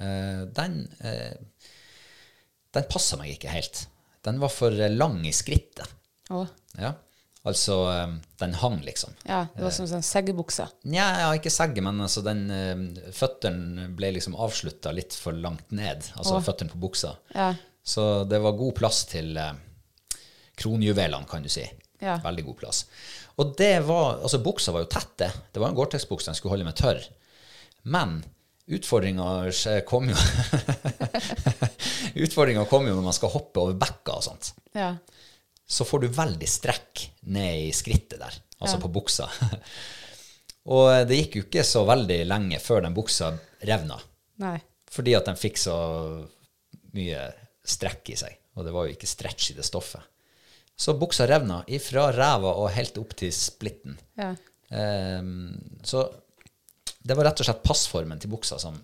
S1: Eh, den eh, den passa meg ikke helt. Den var for eh, lang i skrittet.
S2: Å,
S1: Ja. Altså, eh, den hang liksom.
S2: ja, det var som en sånn seggebukse.
S1: Nja, ja, ikke segge, men altså den eh, føttene ble liksom avslutta litt for langt ned. Altså føttene på buksa.
S2: Ja.
S1: Så det var god plass til eh, kronjuvelene, kan du si.
S2: Ja.
S1: Veldig god plass. Og det var Altså, buksa var jo tett, det. Det var en Gore-Tex-bukse, den skulle holde meg tørr. Men utfordringa kom jo Utfordringa kom jo når man skal hoppe over bekka og sånt
S2: Ja.
S1: så får du veldig strekk ned i skrittet der, altså på buksa. og det gikk jo ikke så veldig lenge før den buksa revna,
S2: Nei.
S1: fordi at den fikk så mye strekk i seg, og det var jo ikke stretch i det stoffet. Så buksa revna ifra ræva og helt opp til splitten.
S2: Ja.
S1: Ehm, så det var rett og slett passformen til buksa som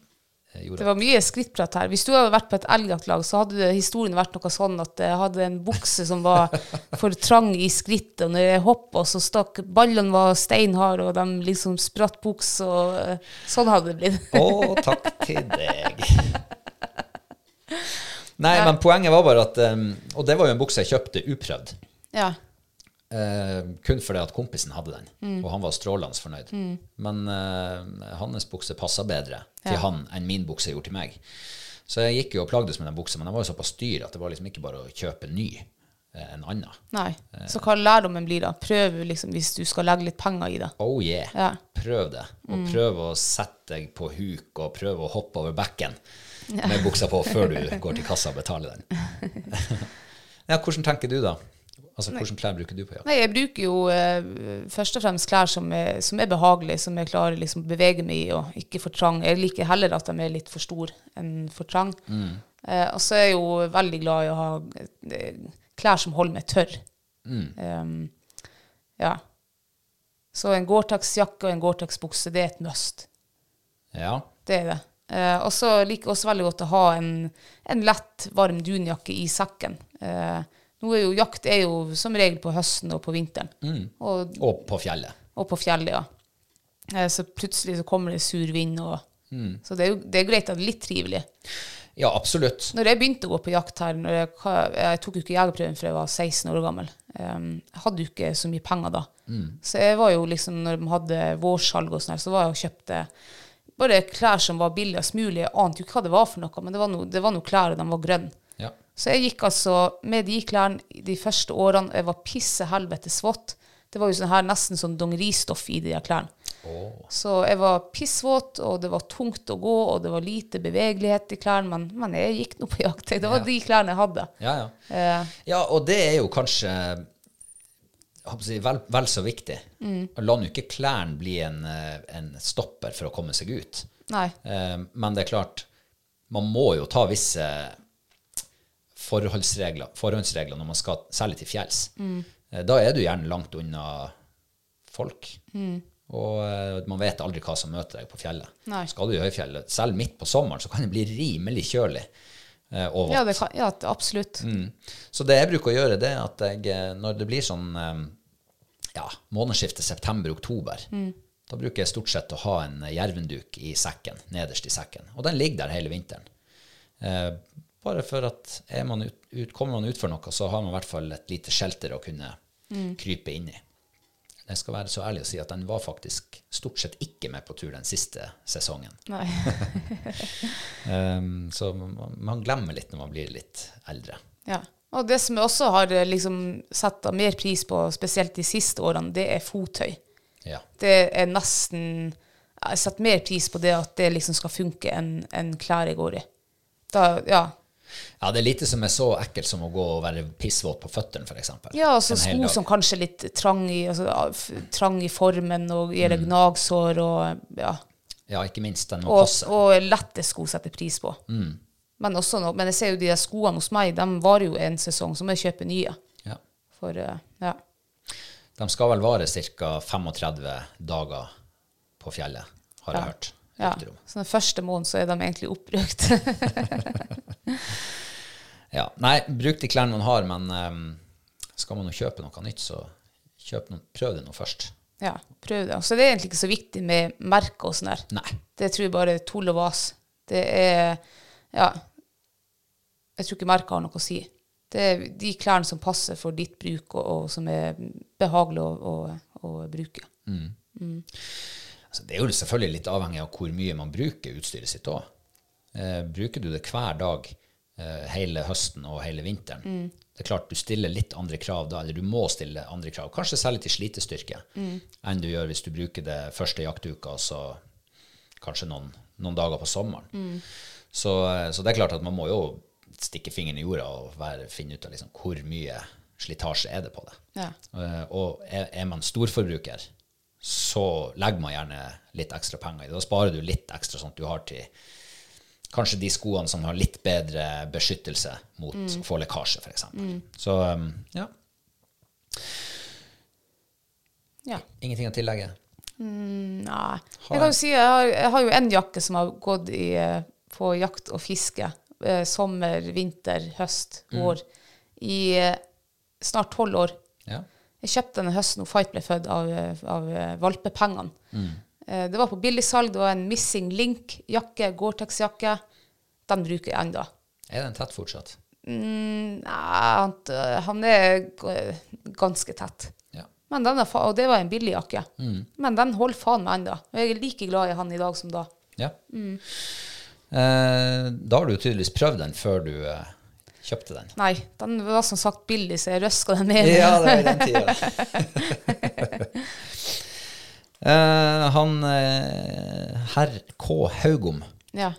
S1: eh, gjorde
S2: Det var mye skrittprat her. Hvis du hadde vært på et elgjaktlag, så hadde det- historien vært noe sånn at jeg hadde en bukse som var for trang i skrittet, og når jeg hoppa, så stakk ballene var steinharde, og de liksom spratt buks, og eh, sånn hadde det blitt.
S1: Å, takk til deg. Nei, men poenget var bare at um, Og det var jo en bukse jeg kjøpte uprøvd.
S2: Ja.
S1: eh, kun fordi at kompisen hadde den, og han var strålende fornøyd. Men eh, hans bukse passa bedre til han enn min bukse gjorde til meg. Så jeg gikk jo og plagdes med den buksa, men den var jo såpass dyr at det var liksom ikke bare å kjøpe ny eh, en annen.
S2: Nei. Så hva lærdommen blir da? Prøv liksom hvis du skal legge litt penger i det.
S1: Oh yeah.
S2: Ja. Mm.
S1: Prøv det. Og prøv å sette deg på huk, og prøv å hoppe over bekken med buksa på før du går til kassa og betaler den. ja, hvordan tenker du da? Altså, Hvordan klær bruker du på jakt?
S2: Nei, jeg bruker jo eh, først og fremst klær som er, som er behagelige, som jeg klarer liksom å bevege meg i, og ikke for trang. Jeg liker heller at de er litt for store enn for trang. Eh, og så er jeg jo veldig glad i å ha eh, klær som holder meg tørr. Em, ja. Så en Gore-Tex-jakke og en Gore-Tex-bukse, det er et must.
S1: Ja,
S2: Det er det. Eh, og så liker jeg også veldig godt å ha en, en lett, varm dunjakke i sekken. Eh, nå er jo jakt er jo som regel på høsten og på vinteren. Og,
S1: Og på fjellet.
S2: og på fjellet, ja. Eh, så plutselig så kommer det sur vind, og Så det er jo det er greit at det er litt trivelig.
S1: Ja, absolutt.
S2: Når jeg begynte å gå på jakt her når jeg, jeg tok jo ikke jegerprøven før jeg var 16 år gammel. Em, jeg hadde jo ikke så mye penger da. Så jeg var jo liksom, når de hadde vårsalg og sånn her, så var jeg og kjøpte bare klær som var billigst mulig. Jeg ante jo ikke hva det var for noe, men det var noe, det var noe klær, og de var grønne.
S1: Ja.
S2: Så jeg gikk altså med de klærne de første årene, jeg var pisse helvete svått. Det var jo sånn her nesten sånn dongeristoff i de her klærne. Så jeg var pissvåt, og det var tungt å gå, og det var lite bevegelighet i klærne, men, men jeg gikk nå på jakt. jeg. Det var de klærne jeg hadde.
S1: Ja, ja.
S2: Eh,
S1: Ja, og det er jo kanskje jeg håper å si, vel, vel så viktig.
S2: Mm.
S1: La nå ikke klærne bli en, eh, en stopper for å komme seg ut.
S2: nei.
S1: Eh, Men det er klart, man må jo ta visse forholdsregler, forhåndsregler når man skal særlig til fjells.
S2: Mm.
S1: Eh, Da er du gjerne langt unna folk.
S2: Mm.
S1: Og eh, man vet aldri hva som møter deg på fjellet.
S2: Nei.
S1: Skal du i høyfjellet, selv midt på sommeren, så kan det bli rimelig kjølig. eh, Og vått.
S2: Ja, det kan, ja, det- absolutt.
S1: Mm. Så det jeg bruker å gjøre, det er at jeg, eh, når det blir sånn eh, ja, månedsskiftet september-oktober, da bruker jeg stort sett å ha en jervenduk i sekken, nederst i sekken. Og den ligger der hele vinteren. Eh, bare for at er man ut, ut, kommer man utfor noe, så har man i hvert fall et lite shelter å kunne krype inn i. Jeg skal være så ærlig å si at den var faktisk stort sett ikke med på tur den siste sesongen.
S2: Nei.
S1: Um, så man, man glemmer litt når man blir litt eldre.
S2: Ja. Og det som jeg også har eh, liksom, satt av mer pris på, spesielt de siste årene, det er fottøy.
S1: Ja.
S2: Det er nesten Jeg setter mer pris på det at det liksom skal funke enn enn klær jeg går i. Da, ja.
S1: Ja, det er lite som er så ekkelt som å gå og være pissvåt på føttene, f.eks.
S2: ja, og så sko som kanskje er litt trang i, altså, ja, f- trang i formen og gir deg gnagsår og ja.
S1: Ja, ikke minst. Den Mm. må
S2: Og,
S1: passe. Mm.
S2: og lette sko setter pris på. Men, også nå- men jeg ser jo de der skoene hos meg, de varer jo en sesong, så må jeg kjøpe nye.
S1: Ja.
S2: For eh, ja.
S1: De skal vel vare ca. 35 dager på fjellet, har jeg hørt.
S2: ja.
S1: rykter om.
S2: Så den første måneden så er de egentlig oppbrukt.
S1: ja. Nei, bruk de klærne man har, men ehm, skal man jo kjøpe noe nytt, så kjøp noe, prøv det nå først.
S2: ja, prøv det. Så det er egentlig ikke så viktig med merker og sånn der.
S1: Nei.
S2: Det tror jeg bare er tull og vas. Det er Ja. Jeg tror ikke merker har noe å si. Det er de klærne som passer for ditt bruk, og, og som er behagelige å, å, å bruke.
S1: Altså, det er jo selvfølgelig litt avhengig av hvor mye man bruker utstyret sitt òg. Eh, bruker du det hver dag eh, hele høsten og hele vinteren, det er klart du stiller litt andre krav da, eller du må stille andre krav, kanskje særlig til slitestyrke, enn du gjør hvis du bruker det første jaktuka, og så kanskje noen, noen dager på sommeren. Så, eh, så det er klart at man må jo stikke fingeren i jorda og være, finne ut av liksom, hvor mye slitasje er det på det.
S2: Ja.
S1: Eh, Og er, er man storforbruker, så legger man gjerne litt ekstra penger i det. Da sparer du litt ekstra sånn at du har til kanskje de skoene som har litt bedre beskyttelse mot å få lekkasje, f.eks. eksempel. Så um, ja,
S2: ja.
S1: ingenting å tillegge.
S2: Nei. Jeg kan jo si jeg har, jeg har jo en jakke som har gått i, eh, på jakt og fiske eh, sommer, vinter, høst, vår i eh, snart tolv år.
S1: Ja.
S2: Jeg kjøpte den høsten da Fight ble født av, eh, av eh, valpepengene.
S1: Mm.
S2: Eh, Det var på billigsalg. Det var en Missing Link-jakke, Gore-Tex-jakke. Den bruker jeg ennå.
S1: Er den tett fortsatt?
S2: Nei, han, eh, han er g- ganske tett.
S1: Ja.
S2: Men den er fa og det var en billig jakke.
S1: Mm.
S2: Men den holder faen meg ennå. Og jeg er like glad i han i dag som da.
S1: ja. Eh, da har du tydeligvis prøvd den før du eh, kjøpte den.
S2: Nei, den var som sagt billig, så jeg røska den ned.
S1: Ja, det var i den tida. Eh, han eh, herr K. Haugom,
S2: Ja.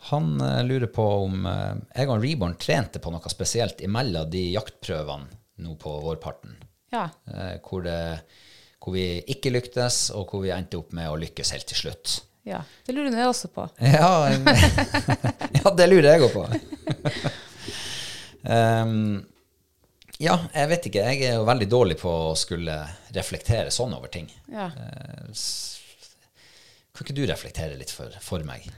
S1: han eh, lurer på om eh, jeg og Reborn trente på noe spesielt imellom de jaktprøvene nå på vårparten,
S2: ja.
S1: eh, hvor, det, hvor vi ikke lyktes, og hvor vi endte opp med å lykkes helt til slutt.
S2: ja. Det lurer jeg også på.
S1: Ja, ja det lurer jeg òg på. Ehm, ja, jeg vet ikke. Jeg er jo veldig dårlig på å skulle reflektere sånn over ting.
S2: Ja,
S1: Eh, s- Kan ikke du reflektere litt for, for meg?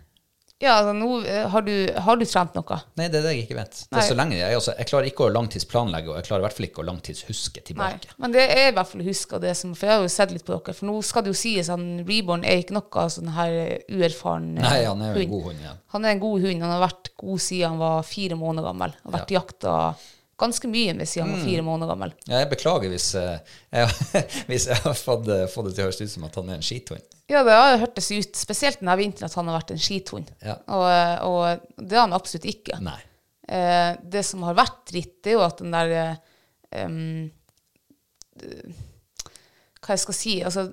S2: ja altså, nå eh, har du, har du trent noe.
S1: Nei, det er det jeg ikke vet. Det
S2: Nei.
S1: er så lenge jeg, altså, jeg klarer ikke å langtidsplanlegge, og jeg klarer i hvert fall ikke å langtidshuske
S2: Nei.
S1: tilbake.
S2: Men det er i hvert fall huska det som For jeg har jo sett litt på dere. For nå skal det jo sies at Reborn er ikke noe sånn her eh, uerfaren eh,
S1: Nei, han er jo en god hund igjen.
S2: Han er en god hund. Han har vært god siden han var fire måneder gammel. Har vært jakta ganske mye med siden han
S1: Mm.
S2: var fire måneder gammel.
S1: Ja, jeg beklager hvis, eh, jeg, hvis jeg har fått, eh, fått det til å høres ut som at han er en skithund.
S2: Ja, det har hørtes ut, spesielt denne vinteren, at han har vært en skithund.
S1: Ja.
S2: Og, eh, og det er han absolutt ikke.
S1: Nei.
S2: Eh, det som har vært dritt, det er jo at den der eh, em, eh, Hva jeg skal si altså,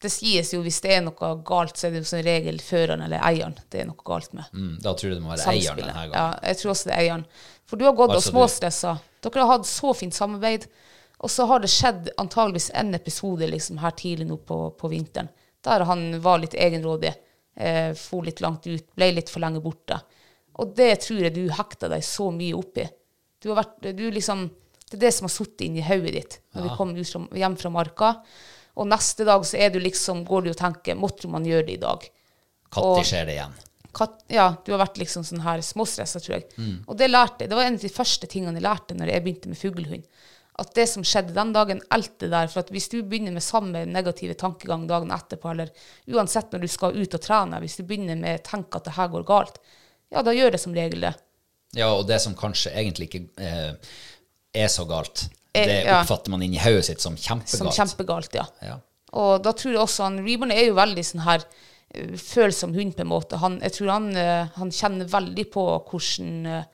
S2: Det sies jo hvis det er noe galt, så er det jo som regel føreren eller eieren det er noe galt med.
S1: Mm, da tror jeg det må være eieren
S2: samspillet.
S1: denne gangen.
S2: Ja, jeg tror også det er eieren. For du har gått
S1: Altså,
S2: og småstressa. Dere har hatt så fint samarbeid, og så har det skjedd antageligvis en episode liksom, her tidlig nå på, på vinteren, der han var litt egenrådig, eh, for litt langt ut, ble litt for lenge borte. Og det tror jeg du hekta deg så mye opp i. Du har vært, du liksom, det er det som har sittet inni hodet ditt når du kom ut fra, hjem fra marka. Og neste dag så er du liksom, går du og tenker Måtte man gjøre det i dag?
S1: Når skjer det igjen?
S2: katt, ja, du har vært liksom sånn her småstressa, tror jeg. Og det lærte jeg. Det var en av de første tingene jeg lærte når jeg begynte med fuglehund. At det som skjedde den dagen, alt det der. For at hvis du begynner med samme negative tankegang dagen etterpå, eller uansett når du skal ut og trene, hvis du begynner med å tenke at det her går galt, ja, da gjør det som regel det.
S1: Ja, og det som kanskje egentlig ikke eh, er så galt,
S2: Eh,
S1: det
S2: ja.
S1: oppfatter man inni hodet sitt som kjempegalt.
S2: Som Sånn kjempegalt, ja.
S1: Ja.
S2: Og da tror jeg også han Reborn er jo veldig sånn her eh, følsom hund, på en måte. Han, jeg tror han, eh, han kjenner veldig på hvordan eh,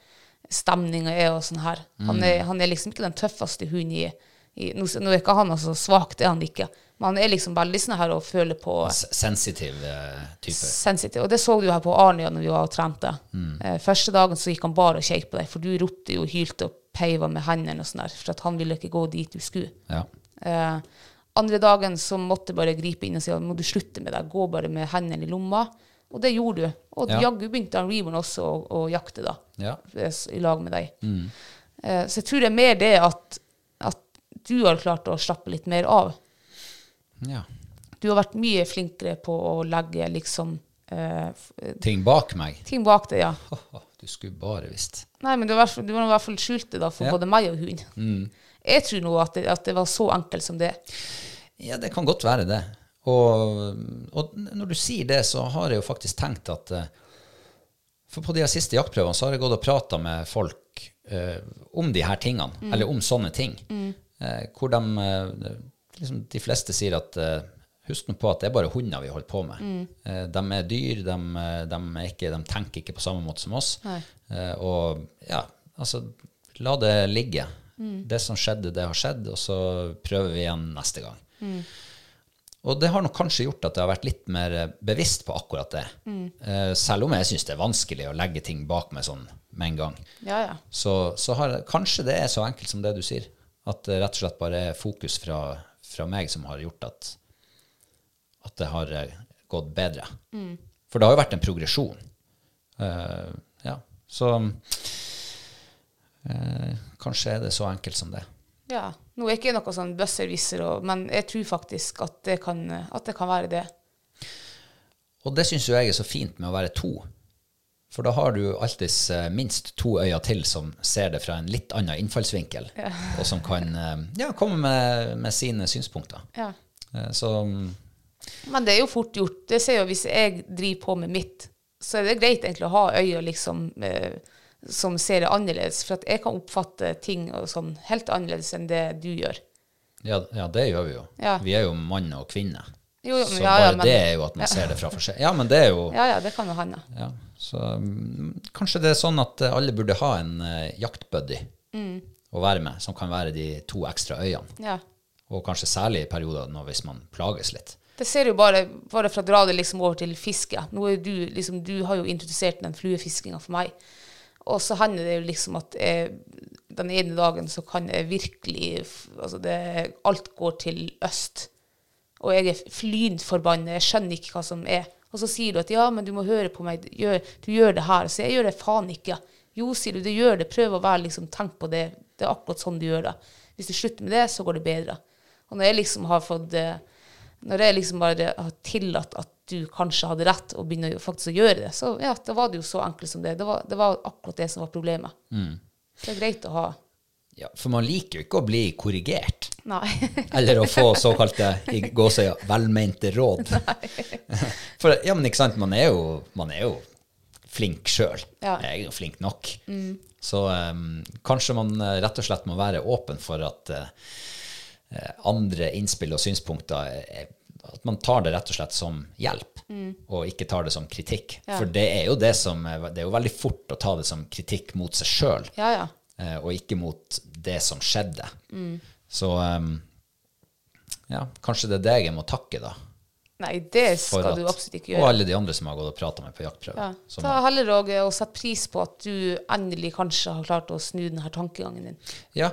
S2: stemninga er og sånn her. Han er, han er liksom ikke den tøffeste hunden i, i nå, s- nå er ikke han altså svak, det er han ikke. Men han er liksom veldig sånn her og føler på
S1: S- Sensitiv eh, type.
S2: sensitiv. Og det så du her på Arnia når vi var og trente. Eh, første dagen så gikk han bare og kjekk på deg, for du ropte jo og hylte og peiva med hendene og sånn der, for at han ville ikke gå dit du skulle.
S1: Ja.
S2: Eh, andre dagen så måtte jeg bare gripe inn og si at må du slutte med det, gå bare med hendene i lomma. Og det gjorde du. Og
S1: Ja.
S2: jaggu begynte han Reborn også å, å jakte, da,
S1: Ja. Mm.
S2: eh, s- i lag med deg. Eh, så jeg tror det er mer det at, at du har klart å slappe litt mer av.
S1: ja.
S2: Du har vært mye flinkere på å legge liksom eh, f- eh,
S1: Ting bak meg.
S2: ting bak deg, ja.
S1: Ho, ho, du skulle bare visst.
S2: Nei, men du har i hvert fall- du har i hvert fall skjult det da, for
S1: Ja. Mm.
S2: både meg og hun. Jeg tror nå at det, at det var så enkelt som det.
S1: Ja, det kan godt være det. Og, og når du sier det, så har jeg jo faktisk tenkt at eh, For på de her siste jaktprøvene så har jeg gått og prata med folk eh, om de her tingene, eller om sånne ting. Eh, hvor de, eh, liksom, de fleste sier at eh, Husk nå på at det er bare hunder vi holder på med. Eh, de er dyr, de, eh, de, er ikke, de tenker ikke på samme måte som oss. Eh, og ja, altså La det ligge. Det som skjedde, det har skjedd, og så prøver vi igjen neste gang. Og det har nok kanskje gjort at jeg har vært litt mer eh, bevisst på akkurat det. Eh, Selv om jeg syns det er vanskelig å legge ting bak meg sånn med en gang.
S2: Ja, ja.
S1: Så, så har, kanskje det er så enkelt som det du sier. At det rett og slett bare er fokus fra, fra meg som har gjort at, at det har eh, gått bedre. For det har jo vært en progresjon. Eh, ja, så eh, kanskje er det så enkelt som det.
S2: Ja. Nå er ikke jeg noe sånn bøsservisser, og- men jeg tror faktisk at det kan, at det kan være det.
S1: Og det syns jo jeg er så fint med å være to. For da har du alltids eh, minst to øyne til som ser det fra en litt annen innfallsvinkel, og som kan eh, ja, komme med, med sine synspunkter.
S2: Ja.
S1: Eh, Så mm,
S2: Men det er jo fort gjort. Det ser jeg jo hvis jeg driver på med mitt, så er det greit egentlig å ha øyne liksom, eh, som ser det annerledes, for at jeg kan oppfatte ting og sånn helt annerledes enn det du gjør.
S1: ja, ja, det gjør vi jo.
S2: Ja.
S1: Vi er jo mann og kvinne.
S2: Jo, jo, men
S1: så
S2: ja,
S1: bare
S2: ja, men-
S1: det er jo at man ser det fra forskjell. Ja, men det er jo
S2: Ja, ja, det kan jo hende.
S1: Ja, så mm, kanskje det er sånn at eh, alle burde ha en eh, jaktbuddy
S2: Mm.
S1: å være med, som kan være de to ekstra øyene.
S2: Ja.
S1: Og kanskje særlig i perioder nå hvis man plages litt.
S2: Det ser jo bare, bare for å dra det liksom over til fiske. Nå er du, liksom, du har jo introdusert den fluefiskinga for meg. Og så hender det jo liksom at jeg, den ene dagen så kan jeg virkelig f- altså det, Alt går til øst. Og jeg er flynt forbanna. Jeg skjønner ikke hva som er. Og så sier du at ja, men du må høre på meg. Gjør, du gjør det her. Så jeg gjør det faen ikke. Jo, sier du, det gjør det. Prøv å være liksom, tenk på det. Det er akkurat sånn du gjør det. Hvis du slutter med det, så går det bedre. Og når jeg liksom har fått eh, Når jeg liksom bare har tillatt at du kanskje hadde rett, og begynner jo faktisk å gjøre det, så ja, da var det jo så enkelt som det. Det var, det var akkurat det som var problemet.
S1: Mm.
S2: Det er greit å ha.
S1: Ja, for man liker jo ikke å bli korrigert.
S2: Nei.
S1: Eller å få såkalte i gåsøya, velmente råd. For ja, men ikke sant, man er jo, man er jo flink sjøl.
S2: Ja.
S1: Jeg er jo flink nok. Så eh, kanskje man eh, rett og slett må være åpen for at eh, eh, andre innspill og synspunkter eh, At man tar det rett og slett som hjelp, og ikke tar det som kritikk. For det er jo det som er- Det er jo veldig fort å ta det som kritikk mot seg sjøl
S2: Ja, ja.
S1: eh, og ikke mot det som skjedde.
S2: Mm.
S1: Så em, ja, kanskje det er deg jeg må takke, da.
S2: Nei, det
S1: for
S2: skal
S1: at-
S2: du absolutt ikke
S1: Og
S2: gjøre.
S1: alle de andre som har gått og prata med på jaktprøve.
S2: Ja.
S1: som
S2: Ta
S1: har-
S2: heller og, eh, og sett pris på at du endelig kanskje har klart å snu denne tankegangen din.
S1: ja.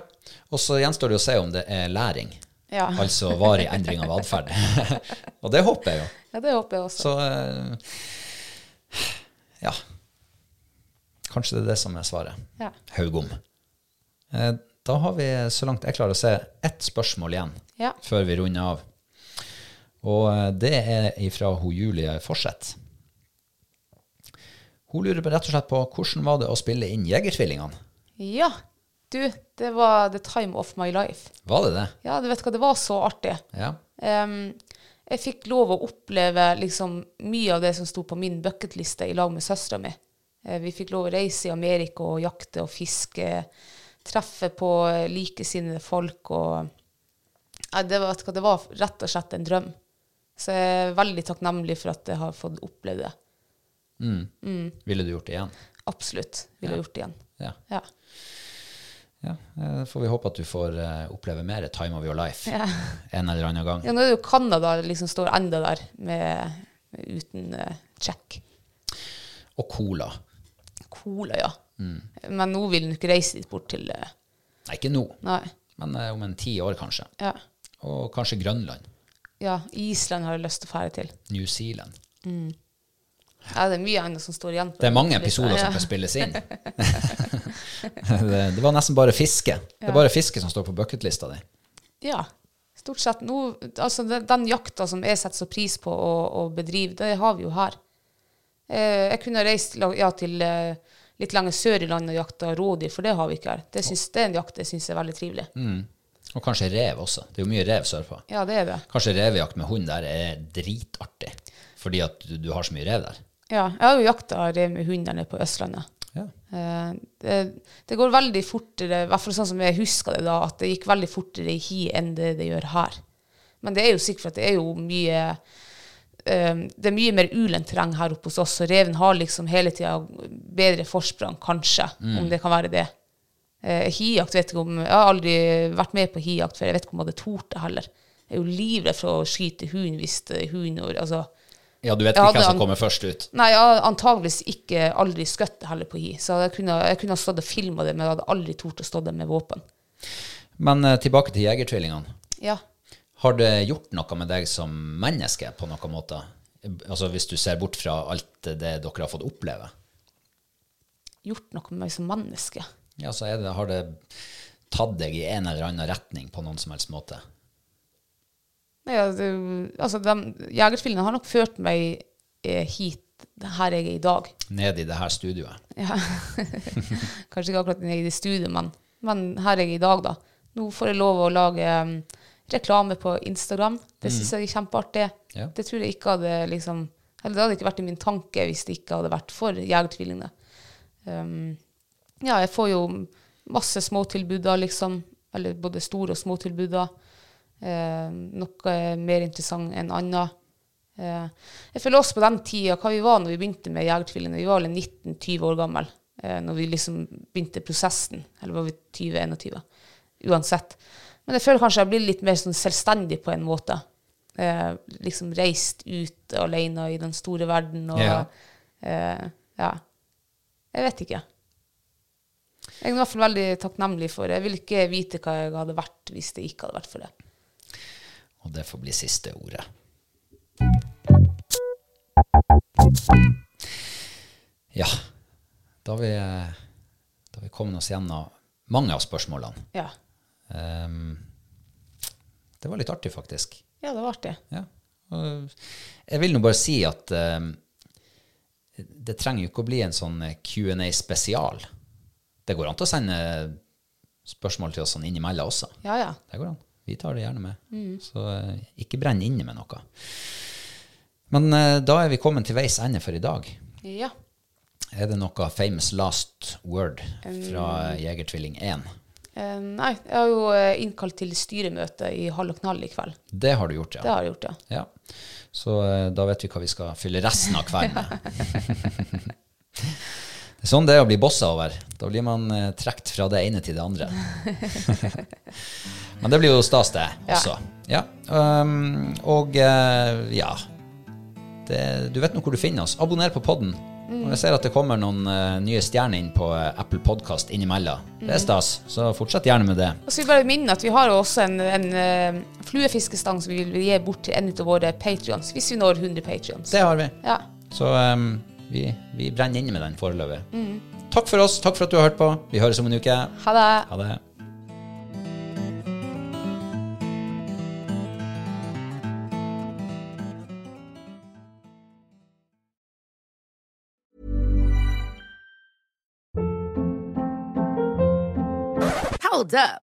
S1: Og så gjenstår det å se om det er læring.
S2: Ja.
S1: Altså varig endring av atferd. og det håper jeg jo. eh,
S2: Ja, det håper jeg også.
S1: Så eh, ja. Kanskje det er det som er svaret.
S2: Ja.
S1: Haugom. Eh, Da har vi, så langt jeg klarer å se, ett spørsmål igjen
S2: Ja.
S1: før vi runder av. Og eh, det er ifra hun Julie Forseth. Hun lurer på- rett og slett på hvordan var det å spille inn Jegertvillingene?
S2: Ja. Du, det var the time of my life.
S1: Var det det?
S2: Ja, du vet hva, det var så artig.
S1: Ja.
S2: Ehm, jeg fikk lov å oppleve liksom, mye av det som sto på min bucketliste i lag med søstera mi. Eh, vi fikk lov å reise i Amerika og jakte og fiske, treffe på eh, likesinnede folk og Nei, det, var, vet du hva, det var rett og slett en drøm. Så jeg er veldig takknemlig for at jeg har fått oppleve det.
S1: Mm.
S2: Mm.
S1: Ville du gjort det igjen?
S2: Absolutt. Ville jeg gjort det igjen.
S1: Ja.
S2: Ja.
S1: Ja, eh, får vi håpe at du får eh, oppleve mer time of your life en eller annen gang.
S2: ja, nå er det jo Canada liksom står enda der med, med uten eh, check.
S1: Og cola.
S2: Cola, ja. Men nå vil hun ikke reise dit bort til eh,
S1: Nei, ikke nå,
S2: Nei.
S1: men eh, om en ti år kanskje.
S2: Ja.
S1: Og kanskje Grønland.
S2: ja. Island har jeg lyst til å fære til.
S1: New Zealand.
S2: Ja, det er mye annet som står igjen. på
S1: Det er mange
S2: den lista.
S1: episoder som kan spilles inn. det, det var nesten bare fiske. Det er bare fiske som står på bucketlista di.
S2: Ja. ja. Stort sett nå Altså, den, den jakta som jeg setter så pris på å, å bedrive, det har vi jo her. Eh, jeg kunne ha reist la- ja, til eh, litt lenger sør i landet og jakta rådyr, for det har vi ikke her. Det, syns, det er en jakt jeg syns er veldig trivelig.
S1: Mm. Og kanskje rev også. Det er jo mye rev sørpå.
S2: Ja, det er det.
S1: Kanskje revejakt med hund der er dritartig, fordi at du, du har så mye rev der.
S2: Ja, jeg har jo jakta rev med hund der nede på Østlandet.
S1: Ja.
S2: Eh, det, det går veldig fortere, i hvert fall sånn som jeg husker det da, at det gikk veldig fortere i hi enn det det gjør her. Men det er jo sikkert for at det er jo mye eh, Det er mye mer ulendt terreng her oppe hos oss, og reven har liksom hele tida bedre forsprang, kanskje, om det kan være det. Uh, hijakt vet ikke om Jeg har aldri vært med på hijakt før, jeg vet ikke om jeg hadde tort det heller. Jeg er jo livredd for å skyte hund hvis det er hund og altså,
S1: ja, du vet
S2: Ja,
S1: ikke hvem
S2: det-
S1: som kommer først ut.
S2: Nei, jeg har antageligvis ikke aldri skutt heller på hi. Så jeg kunne, jeg kunne ha stått og filma det, men jeg hadde aldri tort å stå der med våpen.
S1: Men eh, tilbake til Jegertvillingene.
S2: Ja.
S1: Har det gjort noe med deg som menneske på noen måte? Altså Hvis du ser bort fra alt det dere har fått oppleve,
S2: Gjort noe med meg som menneske.
S1: ja, så er det, har det tatt deg i en eller annen retning på noen som helst måte?
S2: Nei, ja, det, altså, de jegertvillingene har nok ført meg eh, hit, her jeg er i dag.
S1: Ned i det her studioet.
S2: Ja. Kanskje ikke akkurat i det studio, men, men her er jeg i dag, da. Nå får jeg lov å lage em, reklame på Instagram. Det syns jeg er kjempeartig.
S1: Ja.
S2: Det tror jeg ikke hadde liksom Eller det hadde ikke vært i min tanke hvis det ikke hadde vært for Jegertvillingene. Um, Em, ja, jeg får jo masse småtilbuder, liksom. Eller både store og små tilbuder. Eh, noe mer interessant enn annet. Eh, jeg føler også på den tida hva vi var når vi begynte med Jegertvillingene. Vi var vel 19-20 år gamle eh, når vi liksom begynte prosessen. Eller var vi 20-21? Uansett. Men jeg føler kanskje jeg blir litt mer sånn selvstendig på en måte. Eh, liksom reist ut alene i den store verden og
S1: Ja.
S2: Eh, ja. Jeg vet ikke. Jeg er i hvert fall veldig takknemlig for det. Jeg vil ikke vite hva jeg hadde vært hvis det ikke hadde vært for det.
S1: Og det får bli siste ordet. Ja, da har vi, eh, da har vi kommet oss gjennom mange av spørsmålene.
S2: Ja,
S1: Ehm, det var litt artig, faktisk.
S2: ja det var artig.
S1: Ja. Og jeg vil nå bare si at eh, det trenger jo ikke å bli en sånn Q&A-spesial. Det går an til å sende spørsmål til oss sånn innimellom også.
S2: Ja, ja.
S1: Det går an. Vi tar det gjerne med. Så eh, ikke brenn inne med noe. Men eh, da er vi kommet til veis ende for i dag.
S2: Ja.
S1: Er det noe famous last word fra Jegertvilling 1?
S2: Eh, nei, jeg har jo eh, innkalt til styremøte i Hall og Knall i kveld.
S1: Det har du gjort, ja.
S2: Det har jeg gjort, ja.
S1: Ja. Så eh, da vet vi hva vi skal fylle resten av kvelden med. det er sånn det er å bli bossa over. Da blir man eh, trukket fra det ene til det andre. Men det blir jo stas, det også. Ja. Um, og eh, ja det, Du vet nå hvor du finner oss. Abonner på podden. Og jeg ser at det kommer noen eh, nye stjerner inn på eh, Apple Podkast innimellom. Det er stas, så fortsett gjerne med det.
S2: Og så vil jeg bare minne at vi har jo også en, en eh, fluefiskestang som vi vil gi bort til en av våre patrions, hvis vi når 100 patrions.
S1: Det har ehm, vi.
S2: Ja.
S1: Så um, vi, vi brenner inne med den foreløpig. Takk for oss. Takk for at du har hørt på. Vi høres om en uke.
S2: Ha det.
S1: Ha det.
S3: Hold up.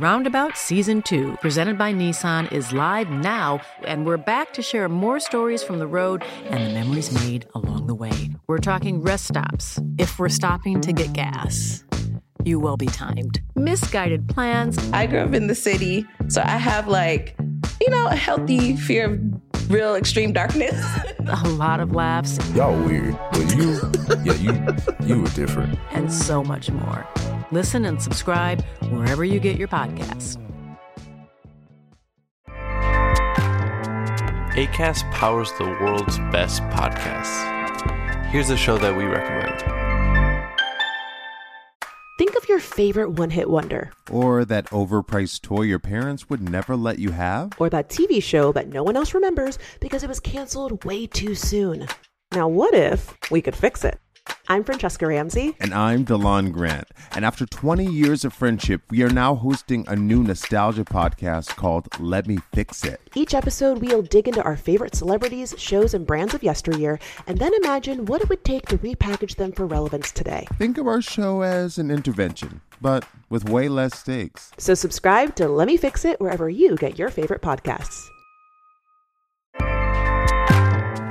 S4: Roundabout Season 2, presented by Nissan, is live now, and we're back to share more stories from the road and the memories made along the way. We're talking rest stops, if we're stopping to get gas. You will be timed. Misguided plans,
S5: I grew up in the city, so I have like, you know, a healthy fear of real extreme darkness.
S4: a lot of laughs,
S6: Y'all weird, but you, yeah, you, you were different.
S4: and so much more. Listen and subscribe wherever you get your podcasts.
S7: ACAST powers the world's best podcasts. Here's a show that we recommend.
S8: Think of your favorite one hit wonder
S6: Or that overpriced toy your parents would never let you have?
S8: or that TV show that no one else remembers because it was canceled way too soon. Now, what if we could fix it? I'm Francesca Ramsey.
S6: And I'm DeLon Grant. And after 20 years of friendship, we are now hosting a new nostalgia podcast called Let Me Fix It.
S8: Each episode, we'll dig into our favorite celebrities, shows, and brands of yesteryear, and then imagine what it would take to repackage them for relevance today.
S6: Think of our show as an intervention, but with way less stakes.
S8: So, subscribe to Let Me Fix It wherever you get your favorite podcasts.